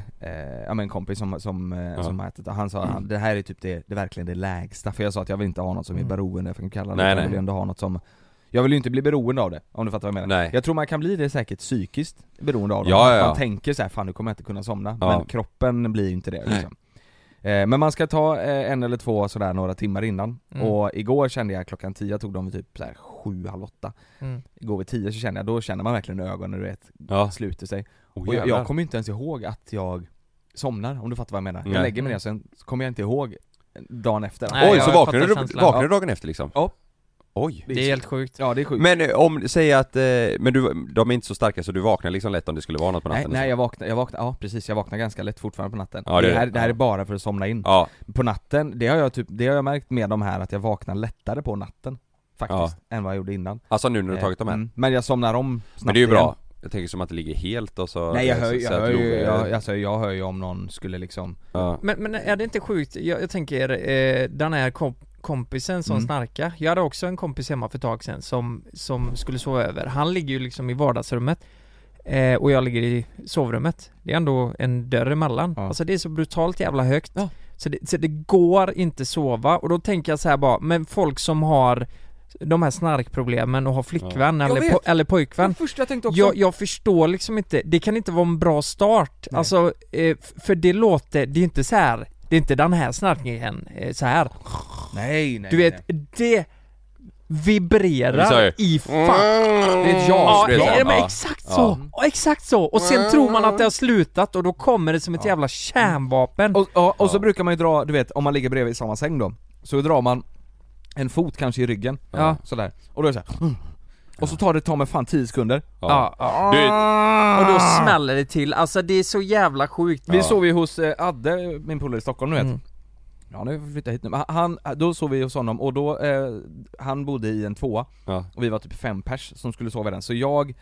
S1: ja men en kompis som, som, eh,
S2: Ja.
S1: som har ätit, och han sa han, det här är typ det, det är verkligen det lägsta, för jag sa att jag vill inte ha något som är
S3: Mm.
S1: beroende, för jag kan kalla det,
S2: Nej,
S1: utan
S2: nej.
S1: jag vill ju ändå ha något som Jag vill ju inte bli beroende av det, om du fattar vad jag menar
S2: Nej.
S1: Jag tror man kan bli det säkert psykiskt beroende av det,
S2: Ja, ja, ja.
S1: man tänker så här, fan nu kommer jag inte kunna somna,
S2: Ja.
S1: men kroppen blir ju inte det liksom. eh, Men man ska ta eh, en eller två sådär några timmar innan,
S3: Mm.
S1: och igår kände jag klockan 10, jag tog dem vid typ såhär sju, halv åtta
S3: Mm.
S1: Igår vid 10 så kände jag, då känner man verkligen hur ögonen du vet,
S2: Ja,
S1: sluter sig
S2: oh,
S1: och jag,
S2: jävlar.
S1: jag kommer inte ens ihåg att jag somnar, om du fattar vad jag menar.
S2: Nej.
S1: Jag lägger mig ner sen så kommer jag inte ihåg dagen efter.
S3: Nej,
S2: Oj,
S3: jag
S2: så
S3: fattar
S2: vaknar du,
S3: känslan.
S2: vaknar du dagen efter liksom?
S1: Ja.
S2: Oj
S3: Det är helt sjukt.
S1: Ja det är sjukt.
S2: Men eh, om, säg att, eh, men du, de är inte så starka så du vaknar liksom lätt om det skulle vara något på
S1: nej,
S2: natten? liksom?
S1: nej
S2: jag...
S1: jag vaknar, jag vaknar, ja precis, jag vaknar ganska lätt fortfarande på natten.
S2: Ja, det
S1: det,
S2: är
S1: här,
S2: det.
S1: det här är
S2: Ja.
S1: bara för att somna in.
S2: Ja,
S1: På natten, det har jag typ, det har jag märkt med de här att jag vaknar lättare på natten. Faktiskt, än vad jag gjorde innan.
S2: alltså nu när du har tagit de här?
S1: Mm, Men jag somnar om snabbt
S2: Men det är ju
S1: igen.
S2: bra, jag tänker som att det ligger helt och så
S1: Nej jag
S2: så-
S1: hör,
S2: så
S1: jag
S2: att
S1: hör
S2: du-
S1: ju, jag, alltså, jag hör ju om någon skulle liksom
S2: ja.
S3: Men, men är det inte sjukt? Jag, jag tänker, eh, den här komp kompisen som
S1: Mm.
S3: snarkar. Jag hade också en kompis hemma för ett tag sedan som, som skulle sova över. Han ligger ju liksom i vardagsrummet eh, och jag ligger i sovrummet. Det är ändå en dörr emellan.
S1: Ja.
S3: Alltså det är så brutalt jävla högt.
S1: Ja.
S3: Så, det, så det går inte sova och då tänker jag så här bara, men folk som har de här snarkproblemen och har flickvän
S1: Jag
S3: eller,
S1: vet.
S3: po- eller pojkvän
S1: första jag tänkte
S3: jag, jag förstår liksom inte, det kan inte vara en bra start.
S1: Nej.
S3: Alltså, eh, f- för det låter, det är inte så här. det är inte den här snarkningen eh, så här.
S1: nej nej
S3: Du
S1: nej.
S3: vet, det
S2: Vi sa
S3: vibrerar
S2: ju-
S3: i fan.
S1: Det är ett
S3: Ja,
S1: jag,
S2: det är så här,
S3: ja, men
S2: ja.
S3: exakt så! Ja, Exakt så! Och sen tror man att det har slutat och då kommer det som ett jävla kärnvapen.
S1: Och, och, och så brukar man ju dra, du vet om man ligger bredvid i samma säng då, så drar man en fot kanske i ryggen,
S3: Ja.
S1: sådär, och då är det såhär Och så tar det ta mig fan 10 sekunder.
S3: Ja.
S2: Du-
S3: Och då smäller det till, alltså det är så jävla sjukt
S1: Vi sov ju hos eh, Adde, min polare i Stockholm nu vet.
S3: Mm.
S1: Ja nu får vi flytta hit nu. Men Han, då sov vi hos honom och då, eh, han bodde i en tvåa
S2: Ja.
S1: och vi var typ fem pers som skulle sova i den. Så jag,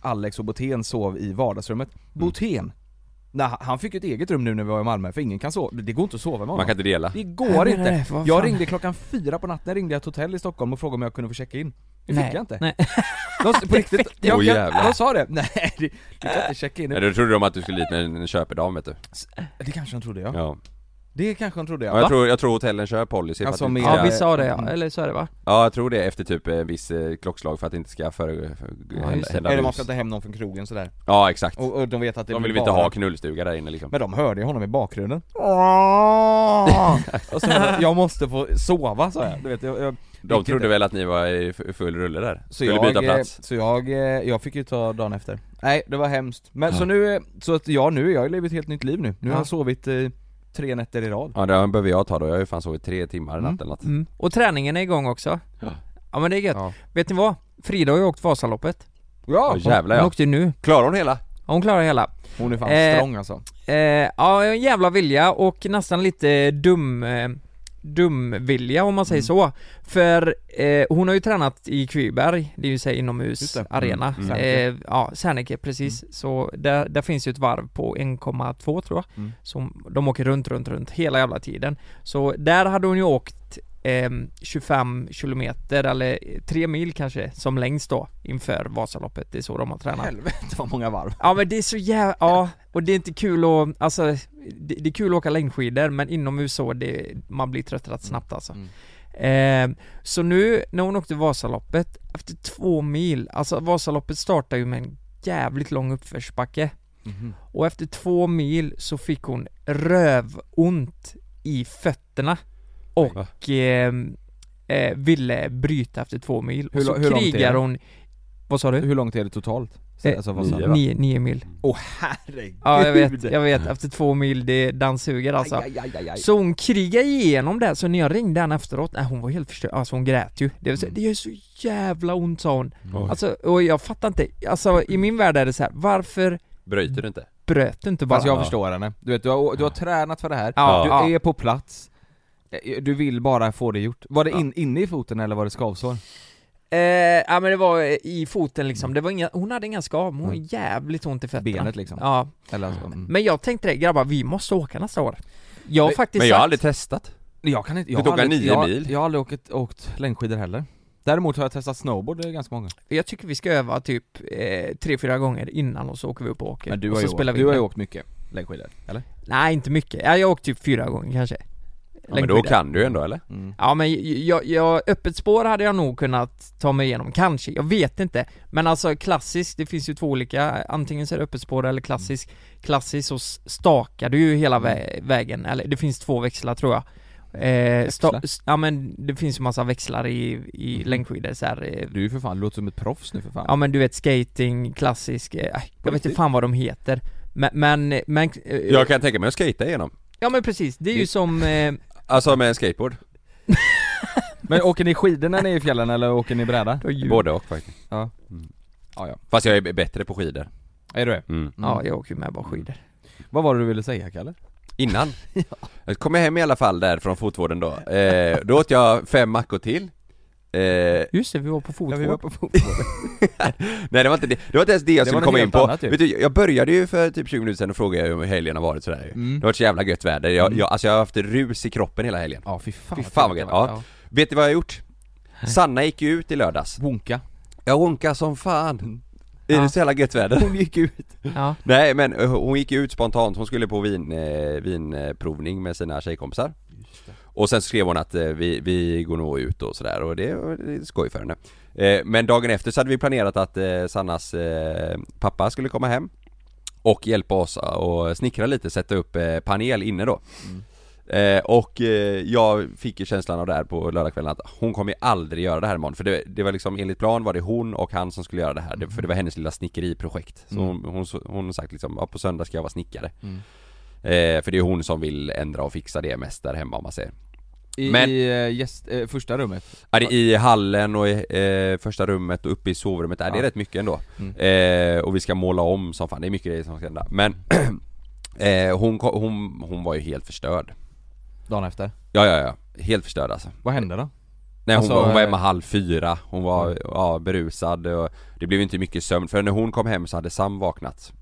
S1: Alex och Botén sov i vardagsrummet. Botén! Nej, han fick ju ett eget rum nu när vi var i Malmö för ingen kan sova, det går inte att sova med honom.
S2: Man kan inte dela.
S1: Det
S3: Jag
S1: går
S3: menar
S1: inte.
S3: det, vad
S1: jag
S3: fan.
S1: ringde klockan fyra på natten, ringde jag ett hotell i Stockholm och frågade om jag kunde få checka in. Det fick
S3: Nej.
S1: jag inte.
S3: Nej.
S1: De, på riktigt, jag,
S2: Åh,
S1: jag,
S2: jävlar.
S1: de sa det. Nej, du du kan inte checka in.
S2: Nej,
S1: nu.
S2: då trodde de att du skulle dit när när köpedam vet du.
S1: Det kanske de trodde ja.
S2: Ja.
S1: Det kanske de trodde ja.
S2: Ja, jag,
S1: Va?
S2: tror, jag tror hotellen kör policy för
S1: Alltså,
S2: att inte
S1: med-
S2: ska-
S3: Ja vi sa det ja,
S1: Mm.
S3: eller så är det va?
S2: ja jag tror det efter typ en viss eh, klockslag för att det inte ska för, för
S3: Ja, just det.
S2: hända
S1: Eller man
S2: rus.
S1: ska ta hem någon från krogen sådär.
S2: Ja exakt,
S1: Och, och de vet att det
S2: de
S1: blir
S2: vill väl inte
S1: bara-
S2: ha knullstuga där inne liksom
S1: Men de hörde ju honom i bakgrunden. och så, jag måste få sova sa jag. Du vet, jag, jag
S2: De trodde väl att ni var i f- full rulle där?
S1: Så
S2: Skulle
S1: jag,
S2: byta
S1: eh,
S2: plats?
S1: Så jag, eh, jag fick ju ta dagen efter. Nej, det var hemskt. Men
S2: Ja.
S1: så nu, eh, så att jag nu, jag har ju levt ett helt nytt liv nu. Nu har
S3: Ja.
S1: jag sovit eh, tre nätter i rad.
S2: Ja det behöver jag ta då, jag har ju fan sovit tre timmar i
S1: Mm.
S2: natt eller något
S3: Och träningen är igång också
S2: Ja.
S3: Ja men det är gött.
S1: Ja.
S3: Vet ni vad? Frida har ju åkt Vasaloppet
S1: Ja!
S2: Åh, jävlar
S3: Hon
S2: ja,
S3: åkte ju nu,
S2: klarar hon hela?
S3: hon klarar hela
S1: Hon är fan
S3: Eh,
S1: strong alltså.
S3: eh, Ja, en jävla vilja och nästan lite dum eh, dumvilja om man
S1: Mm.
S3: säger så. För eh, hon har ju tränat i Kviberg, det är ju så här
S1: Just det.
S3: inomhusarena.
S1: Mm, mm.
S3: Eh, ja, Serneke precis. Så där, där finns ju ett varv på 1,2 tror jag.
S1: Mm.
S3: Som de åker runt, runt, runt hela jävla tiden. Så där hade hon ju åkt eh, 25 kilometer eller 3 mil kanske som längst då inför Vasaloppet. Det är så de har tränat.
S1: Helvete vad många varv.
S3: Ja men det är så jävla, ja, och det är inte kul att, alltså det, det är kul att åka längdskidor men inomhus så, det, man blir trött rätt snabbt alltså
S1: Mm.
S3: eh, Så nu, när hon åkte Vasaloppet, efter två mil, alltså Vasaloppet startar ju med en jävligt lång uppförsbacke
S1: Mhm.
S3: Och efter två mil så fick hon rövont i fötterna och eh, eh, ville bryta efter två mil
S1: Hur
S3: och så
S1: lo- hur långt är
S3: krigar
S1: det?
S3: hon, vad sa du?
S1: Hur långt är det totalt?
S3: Eh,
S1: Alltså, vad sa
S2: nio,
S1: han?
S2: va?
S3: Nio, nio mil
S1: Åh herregud!
S3: Ja jag vet, jag vet, efter två mil, det dammsuger alltså
S1: Aj, aj, aj, aj.
S3: Så hon krigade igenom det, så när jag ringde henne efteråt, nej hon var helt förstörd, alltså hon grät ju Det, vill
S1: Mm.
S3: säga, det gör så jävla ont sa hon
S2: Oj.
S3: Alltså, och jag fattar inte, alltså i min värld är det så här, varför
S2: Bryter du inte?
S3: bröt du inte bara?
S1: Fast jag
S2: Ja.
S1: förstår henne. Du vet, du har, du har tränat för det här,
S3: Ja,
S1: du
S3: ja.
S1: är på plats, Eh, du vill bara få det gjort. Var det in, inne i foten eller var det skavsår?
S3: Eh, ja men det var eh, i foten liksom, det var inga, hon hade inga skav, men hon hade jävligt ont i fötterna
S1: Mm. Benet liksom?
S3: Ja,
S1: Eller alltså, mm.
S3: men jag tänkte det, grabbar vi måste åka nästa år Jag har faktiskt
S2: Men jag har
S3: sagt-
S2: aldrig testat
S1: Jag kan inte, jag
S2: Du tog
S1: har aldrig,
S2: nio
S1: jag,
S2: mil.
S1: Jag har aldrig åkt, åkt längdskidor heller Däremot har jag testat snowboard eh, ganska många
S3: Jag tycker vi ska öva typ eh, tre, fyra gånger innan och så åker vi upp och åker
S1: Men du
S3: och
S1: har,
S3: så
S1: ju
S3: spelar
S1: åkt,
S3: vi
S1: du har ju
S3: in.
S1: åkt mycket längdskidor, eller?
S3: Nej inte mycket, ja, jag har åkt typ fyra gånger kanske
S2: ja, Men då
S3: Längdskidor.
S2: kan du ju ändå eller?
S1: Mm.
S3: Ja men j- jag, jag, öppet spår hade jag nog kunnat ta mig igenom, kanske, jag vet inte Men alltså klassiskt, det finns ju två olika, antingen så är det öppet spår eller klassisk Klassiskt så s- stakar du ju hela vä- vägen, eller det finns två växlar tror jag Eh, sta,
S1: Växlar?
S3: s- ja men det finns ju massa växlar i, i längdskidor så här, eh,
S1: Du är ju för fan, du låter som ett proffs nu för fan
S3: Ja men du vet skating, klassisk, eh, aj, jag vet inte fan vad de heter Men, men, men eh,
S2: Jag kan tänka mig att skata igenom
S3: ja men precis, det är ju som, eh,
S2: Alltså med en skateboard,
S1: Men åker ni skidor när ni är i fjällen eller åker ni bräda?
S2: både och faktiskt
S1: Ja.
S2: Mm.
S1: Ja, ja.
S2: Fast jag är b- bättre på skidor
S1: Är du det?
S2: mm.
S3: ja jag åker ju med bara skidor
S1: Vad var det du ville säga Kalle?
S2: Innan? Jag kom hem i alla fall där från fotvården då, eh, då åt jag fem mackor till eh,
S3: Just det, vi var på fotvård
S1: på fotboll
S2: Nej det var inte det, det var inte ens det jag
S1: Det var
S2: skulle komma
S1: något
S2: in på.
S1: helt annat ju.
S2: Vet du, jag började ju för typ 20 minuter sedan och frågade hur helgen har varit sådär ju.
S1: Mm.
S2: Det har varit så jävla gött väder, jag, jag, alltså jag har haft rus i kroppen hela helgen.
S1: Ja fy fan
S2: Fy fan vad gött, ja. Vet du vad jag har gjort? Sanna gick ju ut i lördags.
S1: Wonka
S2: Jag honkade som fan. Är
S3: Ja.
S2: det så jävla gött väder?
S1: Mm. Hon gick ut
S3: ja.
S2: Nej men eh, hon gick ju ut spontant, hon skulle på vin, eh, vinprovning med sina tjejkompisar Och sen skrev hon att eh, vi, vi går nog ut och sådär och det, och det är skoj för henne eh, Men dagen efter så hade vi planerat att eh, Sannas eh, pappa skulle komma hem Och hjälpa oss att snickra lite, sätta upp eh, panel inne då Eh, och eh, jag fick ju känslan av det här på lördagskvällen att hon kommer ju aldrig göra det här imorgon För det, det var liksom, enligt plan var det hon och han som skulle göra det här det, För det var hennes lilla snickeriprojekt Så
S1: Mm.
S2: hon, hon, så- hon har sagt liksom, ja, på söndag ska jag vara snickare eh, För det är hon som vill ändra och fixa det mest där hemma om man säger
S1: I,
S2: Men-
S1: i eh, gäst, eh, första rummet.
S2: Ja, det är I hallen och i eh, första rummet och uppe i sovrummet, där, det är
S1: Ja.
S2: rätt mycket ändå.
S1: Mm.
S2: Eh, och vi ska måla om som fan, det är mycket grejer som ska hända. Men eh, hon, ko- hon, hon var ju helt förstörd.
S1: Dagen efter.
S2: Ja, ja, ja. Helt förstörd alltså.
S1: Vad hände då?
S2: Nej hon,
S1: Alltså,
S2: var, hon var
S1: eh,
S2: hemma halv fyra, hon var
S1: Oj.
S2: ja, berusad och det blev inte mycket sömn för när hon kom hem så hade Sam vaknat.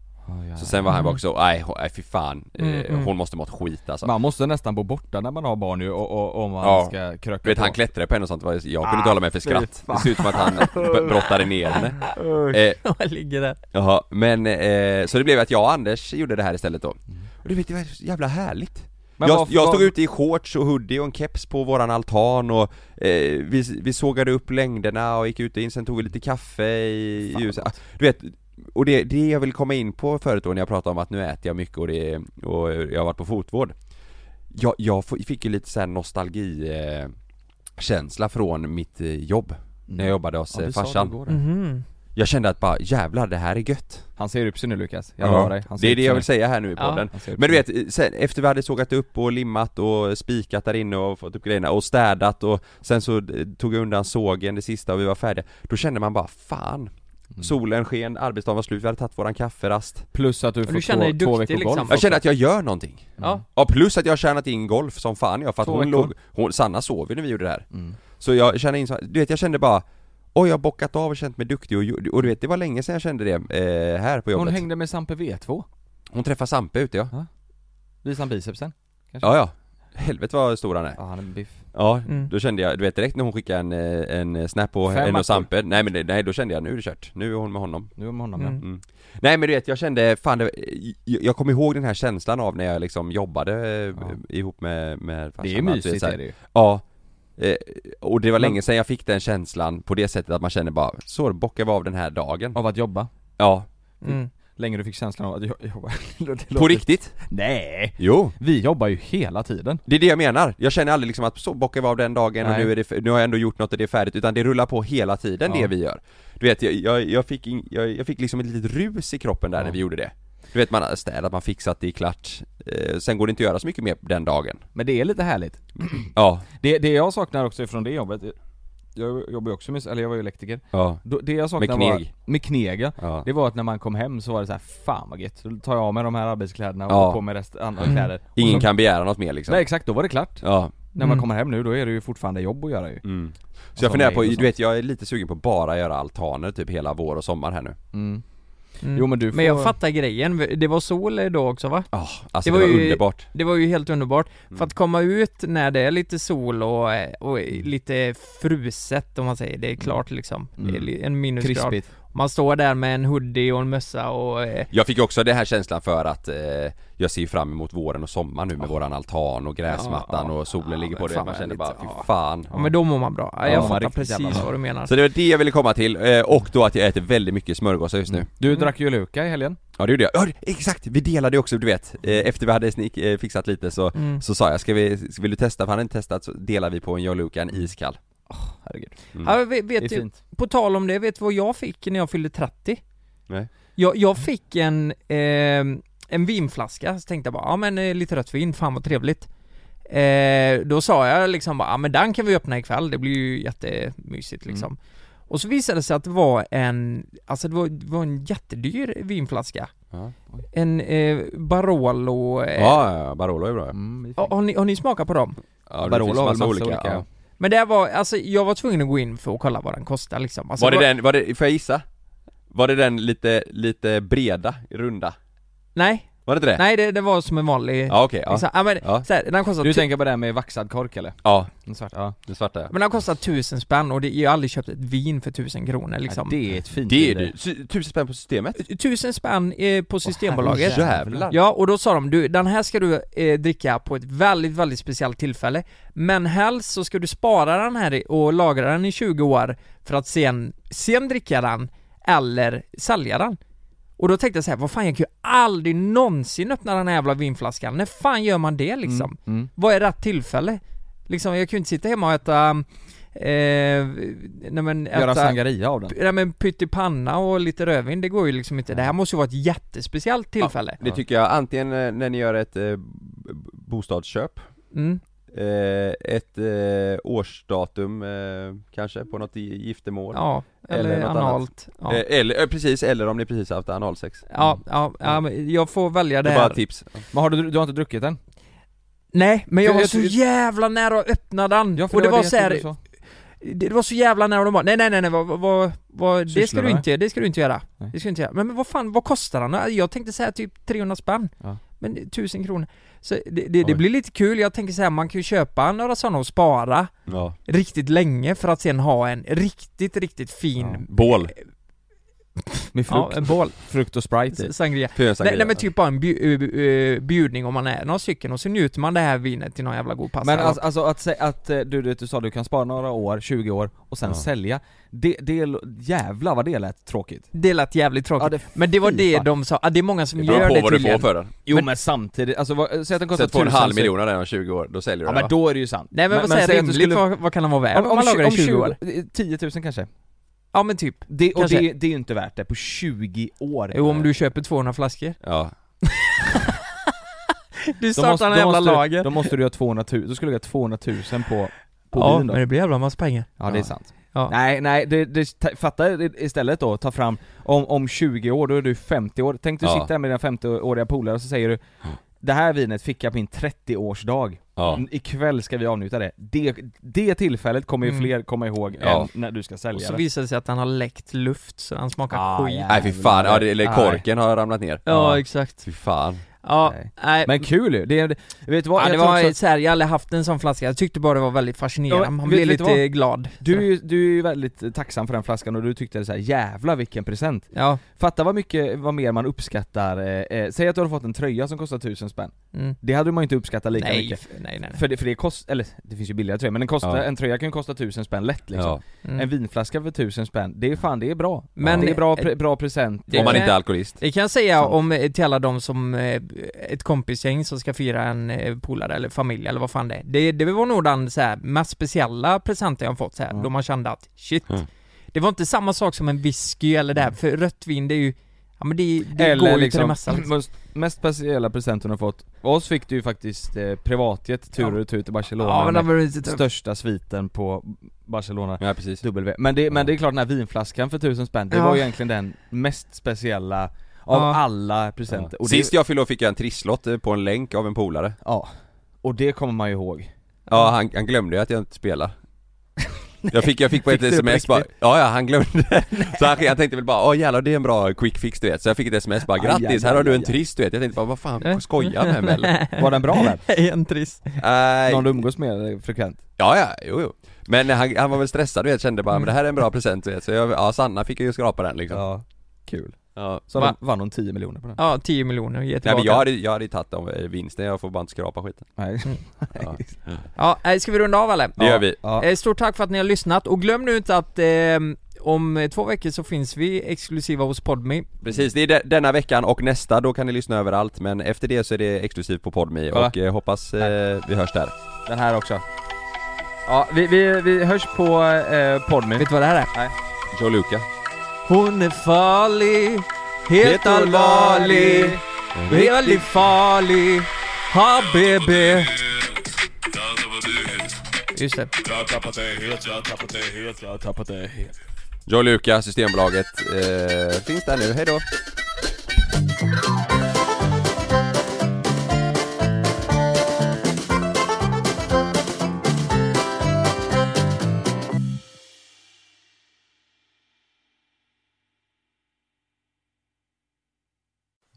S2: Så sen var han
S3: Mm.
S2: bara också, nej hon- nej, fy fan, Eh,
S3: Mm, mm.
S2: hon måste mått skit alltså.
S1: Man måste nästan bo borta när man har barn ju och, och, om man
S2: Ja.
S1: ska kröka
S2: Du vet
S1: på.
S2: han klättrade på henne och sånt, det var- jag kunde
S1: Ah,
S2: inte hålla mig
S1: fy
S2: för skratt.
S1: fan.
S2: Det ser ut som att han b- brottade ner henne. Eh,
S3: Jag ligger där.
S2: Jaha, men eh, så det blev att jag och Anders gjorde det här istället
S1: Mm.
S2: då. Och du vet, det var så jävla härligt.
S1: Men
S2: jag,
S1: varför-
S2: jag stod
S1: var-
S2: ute i shorts och hoodie och en keps på våran altan och eh, vi, vi sågade upp längderna och gick ut och in, sen tog vi lite kaffe i
S1: Fan,
S2: ljuset. Ah, Du vet, och det, det jag vill komma in på förut då när jag pratade om att nu äter jag mycket och, det, och jag har varit på fotvård. Jag, jag f- fick ju lite såhär nostalgi eh, känsla från mitt eh, jobb, när jag jobbade hos
S1: Mm. Ja,
S2: eh,
S1: du sa det
S2: farsan.
S1: igår där.
S3: Mhm.
S2: Jag kände att bara jävlar det här är gött.
S1: Han ser upp sig nu Lukas, jag
S2: Ja,
S1: lovar dig. Han ser
S2: det är
S1: upp
S2: det
S1: sig nu.
S2: jag vill säga här nu i
S3: Ja.
S2: podden.
S1: Han ser upp
S2: Men du
S1: sig
S2: vet, sen, efter vi hade sågat upp och limmat och spikat där inne och fått upp grejerna och städat och sen så eh, tog jag undan sågen det sista och vi var färdiga. Då kände man bara
S1: Mm.
S2: fan. Solen sken, arbetsdagen var slut, vi hade tagit våran kafferast.
S1: nu. Plus att du får
S3: du känner
S1: två,
S3: dig
S1: två
S3: duktig,
S1: veckor
S3: liksom.
S1: golf.
S2: Jag kände att jag gör någonting.
S3: Ja.
S2: Ja, plus att jag har tjänat in golf som fan jag för att
S1: Två
S2: hon
S1: veckor.
S2: låg, hon, Sanna sov ju när vi gjorde det här. Så jag kände in, så- du vet jag kände bara Oj jag har bockat av och känt mig duktig och, gjort- och du vet det var länge sedan jag kände det eh, här på jobbet.
S1: Hon
S2: Hon,
S1: hängde med Sampe V2,
S2: träffade Sampe ute ja.
S1: visade han bicepsen. kanske?
S2: Ja ja. Helvete vad stor han är.
S1: Ja han är en biff.
S2: Ja,
S3: Mm.
S2: då kände jag, du vet direkt när hon skickade en, eh, en snap på
S1: Fem
S2: henne
S1: mackor.
S2: och Sampe, nej men det- nej då kände jag nu är det kört, nu är hon med honom
S1: Nu är med honom
S3: Mm.
S1: mm.
S2: Nej men du vet, jag kände, fan det, jag, jag kom ihåg den här känslan av när jag liksom jobbade eh,
S1: Ja.
S2: ihop med, med
S1: ja.
S2: farsan,
S1: Det är
S2: att
S1: mysigt
S2: så här-
S1: är det ju.
S2: Ja Eh, och det var
S1: Men-
S2: länge sedan jag fick den känslan på det sättet att man känner bara, så bockar vi av den här dagen
S1: Av att jobba.
S2: Ja,
S3: Mm.
S1: Länge du fick känslan av att jo- jobba. Det låter-
S2: på riktigt?
S1: Nej!
S2: Jo!
S1: Vi jobbar ju hela tiden.
S2: Det är det jag menar, jag känner aldrig liksom att så bockar vi av den dagen
S1: Nej.
S2: och nu, är det, f- nu har jag ändå gjort något och det är färdigt utan det rullar på hela tiden
S1: Ja.
S2: det vi gör Du vet, jag, jag, jag, fick, in, jag, jag fick liksom ett litet rus i kroppen där
S1: Ja.
S2: när vi gjorde det Du vet man har städat, man fixat, det är klart eh, Sen går det inte att göra så mycket mer den dagen
S1: Men det är lite härligt.
S2: Ja,
S1: Det, det jag saknar också från det jobbet, jag jobbar ju också med, eller jag var ju elektriker.
S2: ja,
S1: Då- Det jag saknar
S2: Med
S1: var,
S2: kneg.
S1: med kneg ja.
S2: ja
S1: Det var att när man kom hem så var det så här, fan vad gött, då tar jag av mig de här arbetskläderna och
S2: Ja. Mm.
S1: har på mig resten, andra kläder Och
S2: Ingen
S1: så,
S2: kan begära något mer liksom
S1: Nej exakt, då var det klart.
S2: Ja,
S1: När man kommer hem nu, då är det ju fortfarande jobb att göra ju
S2: mm. Så
S1: sån
S2: jag funderar på,
S1: mail och
S2: du
S1: sånt.
S2: vet jag är lite sugen på att bara göra altaner typ hela vår och sommar här nu
S1: mm.
S3: Mm.
S1: Jo men du får...
S3: Men jag fattar grejen, det var sol då också va?
S2: Ja, alltså
S3: Det
S2: det
S3: var
S2: var,
S3: ju-
S2: underbart
S3: Det var ju helt underbart.
S1: Mm.
S3: För att komma ut när det är lite sol och, eh, och
S1: Mm.
S3: lite fruset om man säger, det är klart liksom. Det är li- en minusgrad.
S1: Mm. Krispigt.
S3: Man står där med en hoodie och en mössa och eh,
S2: Jag fick också den här känslan för att eh, jag ser fram emot våren och sommaren nu med våran altan och gräsmattan
S1: Ja,
S2: och solen
S3: ja,
S2: ligger på
S3: men
S2: det.
S3: fan
S2: Man
S3: vad
S2: kände bara,
S3: härligt.
S2: fy
S3: Ja.
S2: fan.
S3: ja men då mår man bra. Ja,
S1: Ja,
S3: jag
S1: man
S3: fattar
S1: riktigt jävla
S3: precis
S1: bra.
S3: vad du menar.
S2: Så det var det jag ville komma till, eh, och då att jag äter väldigt mycket smörgåsar just nu.
S3: Mm.
S1: Du drack ju Luka i helgen.
S2: Ja det gjorde jag. Ja, det- exakt! Vi delade också, du vet. Eh, efter vi hade snick, eh, fixat lite så,
S3: Mm.
S2: så sa jag, ska vi, ska- vill du testa? För han hade inte testat, så delar vi på en Joe Luca, en iskall.
S1: Herregud.
S3: Ja, typ. vet,
S1: Det är
S3: vet du,
S1: fint.
S3: på tal om det, vet du vad jag fick när jag fyllde 30?
S2: Nej.
S3: Jag, jag fick en, eh, en vinflaska, så tänkte jag bara, ja men eh, lite rött vin, fan vad trevligt. Eh, då sa jag liksom bara, ja men den kan vi öppna ikväll, det blir ju jättemysigt liksom.
S2: Mm.
S3: Och så visade det sig att det var en, alltså det var, det var en jättedyr vinflaska.
S2: Ja.
S3: En eh, Barolo, eh,
S2: Ja, ja, Barolo är bra.
S1: Mm, det är
S3: har,
S1: fint.
S3: har, ni, har ni smakat på dem?
S2: Ja, det
S1: Barolo
S2: finns
S1: har
S2: massa
S1: väl massa olika,
S2: ja.
S3: Men det var, alltså jag var tvungen att gå in för att kolla vad den kostade liksom. Alltså,
S2: Var det den, var det, får jag gissa? Var det den lite, lite breda, runda?
S3: Nej,
S2: Var det inte det?
S3: nej det, det var som en vanlig
S2: Ja okej, ja.
S3: Liksom, ja, men,
S2: Ja.
S3: så här, den kostar
S1: Du
S3: tu-
S1: tänker på det här med vaxad kork eller?
S2: ja.
S1: Den svarta, ja.
S2: Den svarta ja.
S3: men den kostar tusen spänn och det, jag har aldrig köpt ett vin för tusen kronor liksom.
S1: ja det är ett fint
S2: Det är
S1: vin,
S2: du, Sy- tusen spänn på systemet?
S3: Tusen spänn eh, på Systembolaget.
S1: herrejävlar.
S2: Jävlar!
S3: Ja, och då sa de du, den här ska du eh, dricka på ett väldigt, väldigt speciellt tillfälle Men helst så ska du spara den här i- och lagra den i 20 år För att sen, sen dricka den eller sälja den Och då tänkte jag så här, vad fan jag kan ju aldrig någonsin öppna den här jävla vinflaskan När fan gör man det liksom?
S1: mm.
S3: Vad är rätt tillfälle? Liksom, jag kunde inte sitta hemma och äta Eh, nej men
S1: Göra
S3: äta,
S1: sangaria av den.
S3: nej men pyttipanna och lite rödvin, det går ju liksom inte. Det här måste ju vara ett jättespeciellt tillfälle.
S2: Det tycker jag antingen eh, när ni gör ett eh, b- b- bostadsköp
S3: Mm.
S2: eh, ett eh, årsdatum eh, kanske på något i- giftermål.
S3: Ja, eller,
S2: Eller något annat.
S3: analt. Ja.
S2: Eh, eller, eh, precis, eller om ni precis haft analsex.
S3: Ja, ja, ja, men jag får välja
S2: Det
S3: det
S2: är bara
S3: här.
S2: ett tips.
S1: Men har du, du har inte druckit den?
S3: Nej, men jag
S1: För
S3: var
S1: jag
S3: så
S1: tror-
S3: jävla nära att öppna den. och det var, så här,
S1: så.
S3: det var så jävla nära de bara, nej nej nej, nej vad, vad, vad det ska
S1: Sysslar
S3: du
S1: med?
S3: inte, det ska du inte göra.
S1: Nej.
S3: Det ska du inte göra. Men, men vad fan, vad kostar den? Jag tänkte säga typ 300 spänn.
S1: Ja.
S3: Men 1000 kronor. Så det, det,
S1: Oj.
S3: det blir lite kul, jag tänker så här, man kan ju köpa några sådana och spara
S2: Ja.
S3: riktigt länge för att sen ha en riktigt, riktigt fin
S2: Bål.
S1: Med
S3: ja,
S1: frukt,
S3: en bål,
S1: frukt och sprite i.
S3: s- sangria. Nej,
S2: Fyrsangria.
S3: nej men typ bara en bju- ö- ö- bjudning om man är några stycken och så njuter man det här vinet till någon jävla god pasta.
S1: Men
S3: eller
S1: alltså, alltså att säga att eh, du, du, du sa du kan spara några år, 20 år, och sen
S2: Ja.
S1: sälja. Det, det, l- jävlar vad det lät tråkigt.
S3: Det lät jävligt tråkigt.
S1: Ja, det-
S3: men det var
S1: fy
S3: det
S1: fan.
S3: de sa, ah, det är många som
S2: Det
S3: gör
S2: beror
S3: det
S2: på vad du får
S3: tydligen.
S2: för den.
S1: Jo men, samtidigt, alltså vad, säg att den kostar
S2: Sätt på en halv
S1: så-
S2: miljon av den om 20 år, då säljer
S1: Ja
S2: du den
S1: men
S2: va?
S1: då är det ju sant.
S3: Nej men, vad
S1: säg
S3: säger
S1: att du
S3: rimligt,
S1: skulle-
S3: vad, vad kan den vara värd?
S1: Om,
S3: Om,
S1: om,
S3: man lagar den
S1: om
S3: 20,
S1: 20
S3: år?
S1: år, eh, 10 000 kanske.
S3: Ja men typ.
S1: Det, och
S3: Kanske.
S1: det, det är ju inte värt det på 20 år.
S3: Jo om du köper 200 flaskor.
S2: Ja.
S3: Du
S1: Då
S3: startar
S1: måste-
S3: en
S1: då
S3: jävla
S1: måste du-
S3: lager.
S1: Då måste du ha 200 000, då skulle du ha 200 000 på, på
S3: ja
S1: vin då.
S3: men det blir jävla massa pengar.
S1: Ja det är sant.
S3: Ja.
S1: Nej, nej, det, det, ta- fatta i- istället då, ta fram, om, om 20 år, då är du 50 år. Tänk du
S2: Ja.
S1: sitter här med dina 50-åriga polare och så säger du Det här vinet fick jag på min 30-årsdag.
S2: Ja.
S1: N- Ikväll ska vi avnjuta det. Det, det tillfället kommer ju
S3: Mm.
S1: fler komma ihåg
S2: Ja.
S1: än när du ska
S3: Och
S1: sälja
S3: så
S1: det.
S3: visar det sig att han har läckt luft så han smakar
S1: Ah,
S3: skit.
S1: jävlar.
S2: Nej Äh, fy fan, ja, det, eller
S1: Nej.
S2: korken har ramlat ner.
S3: Ja exakt.
S2: Fy fan.
S3: Ja,
S1: Nej.
S3: nej.
S1: Men kul ju! Det, det, vet du vad?
S3: ja,
S1: Jag
S3: det
S1: tror
S3: var
S1: också att-
S3: så här, jag har aldrig haft en sån flaska, jag tyckte bara det var väldigt fascinerande,
S1: Ja,
S3: man
S1: vet-
S3: blev
S1: vet du
S3: lite glad.
S1: du, är ju- du är ju väldigt tacksam för den flaskan och du tyckte så här, jävla vilken present.
S3: Ja.
S1: Fatta vad mycket, vad mer man uppskattar, eh, eh, säg att du har fått en tröja som kostar 1000 spänn.
S3: Mm.
S1: Det hade man ju inte uppskattat lika
S3: Nej,
S1: mycket.
S3: f- nej, nej, nej.
S1: För det, för det kostar, eller det finns ju billigare tröjor, men den kostar,
S2: Ja.
S1: en tröja kan ju kosta 1000 spänn lätt liksom.
S2: Ja.
S3: Mm.
S1: En vinflaska för 1000 spänn, det är fan, det är bra.
S3: Men-
S1: det är bra, pre, bra present.
S3: Det-
S2: Om man
S3: men-
S2: inte är alkoholist.
S3: Det kan jag säga
S1: Sant.
S3: om eh, till alla de som, eh, ett kompisgäng som ska fira en eh, polare eller familj eller vad fan det är. Det, det var nog den så här, mest speciella presenten jag fått så här,
S1: Mm.
S3: då man kände att shit.
S2: Mm.
S3: Det var inte samma sak som en whisky eller det här, för rött vin det är ju, ja men det, det går ju
S1: Eller
S3: till det
S1: liksom,
S3: mesta. Liksom.
S1: mest, mest speciella presenten du har fått, oss fick du ju faktiskt eh, privatjet tur och
S3: Ja.
S1: retur till Barcelona
S3: Ja men det
S1: med
S3: var ju lite tufft.
S1: största sviten på Barcelona
S2: Ja precis.
S1: W. Men det, men det är klart den här vinflaskan för 1000 spänn, det
S3: Ja.
S1: var ju egentligen den mest speciella av
S3: Ja.
S1: alla
S2: Ja.
S1: presenter.
S2: Sist jag fyllde år fick jag en trisslott eh, på en länk av en polare.
S1: Ja, och det kommer man ju ihåg.
S2: Ja han, han glömde ju att jag inte spelar. Jag fick, jag fick på
S1: Fick du
S2: ett
S1: det på
S2: sms bara,
S1: riktigt?
S2: ja ja han glömde Så han, jag tänkte väl bara, åh jävlar det är en bra quick fix du vet Så jag fick ett sms bara,
S1: Aj, aj,
S2: grattis här har du en
S1: aj, Eh. aj.
S2: trist du vet Jag tänkte bara, vad fan skojar han med mig eller?
S1: Var den bra vän?
S3: en trist.
S2: Nej.
S1: Någon du umgås med eh, frekvent?
S2: Ja, ja, jo, jo. Men han, han var väl stressad du vet, kände bara men det här är en bra present du vet. Så jag, ja, Sanna fick ju skrapa den liksom. Ja.
S1: Mm. Ja, kul.
S2: ja.
S1: Så
S3: Va?
S1: Va? vann hon 10 miljoner på den?
S3: Ja, 10 miljoner ge
S2: Nej
S3: tillbaka.
S2: men jag hade, jag hade ju tagit om eh, vinsten, jag får bara inte skrapa skiten.
S1: Nej.
S2: Ja.
S3: Ja, eh, ska vi runda av eller?
S2: Det gör vi.
S1: Ja.
S3: Eh, Stort tack för att ni har lyssnat och glöm nu inte att eh, om eh, två veckor så finns vi exklusiva hos Podmi
S2: Precis, det är de, denna veckan och nästa, då kan ni lyssna överallt. Men efter det så är det exklusivt på Podmi
S1: Kolla.
S2: och eh, hoppas eh, vi hörs där.
S1: Den här också. Ja, vi, vi, vi hörs på eh, Podme.
S3: Vet du vad det här är?
S2: Joe Luca.
S3: Hon är farlig, helt
S2: Helt allvarlig,
S3: allvarlig, väldigt farlig, HBB. Just det.
S2: Joe Luca, Systembolaget, eh, finns där nu. Hej då.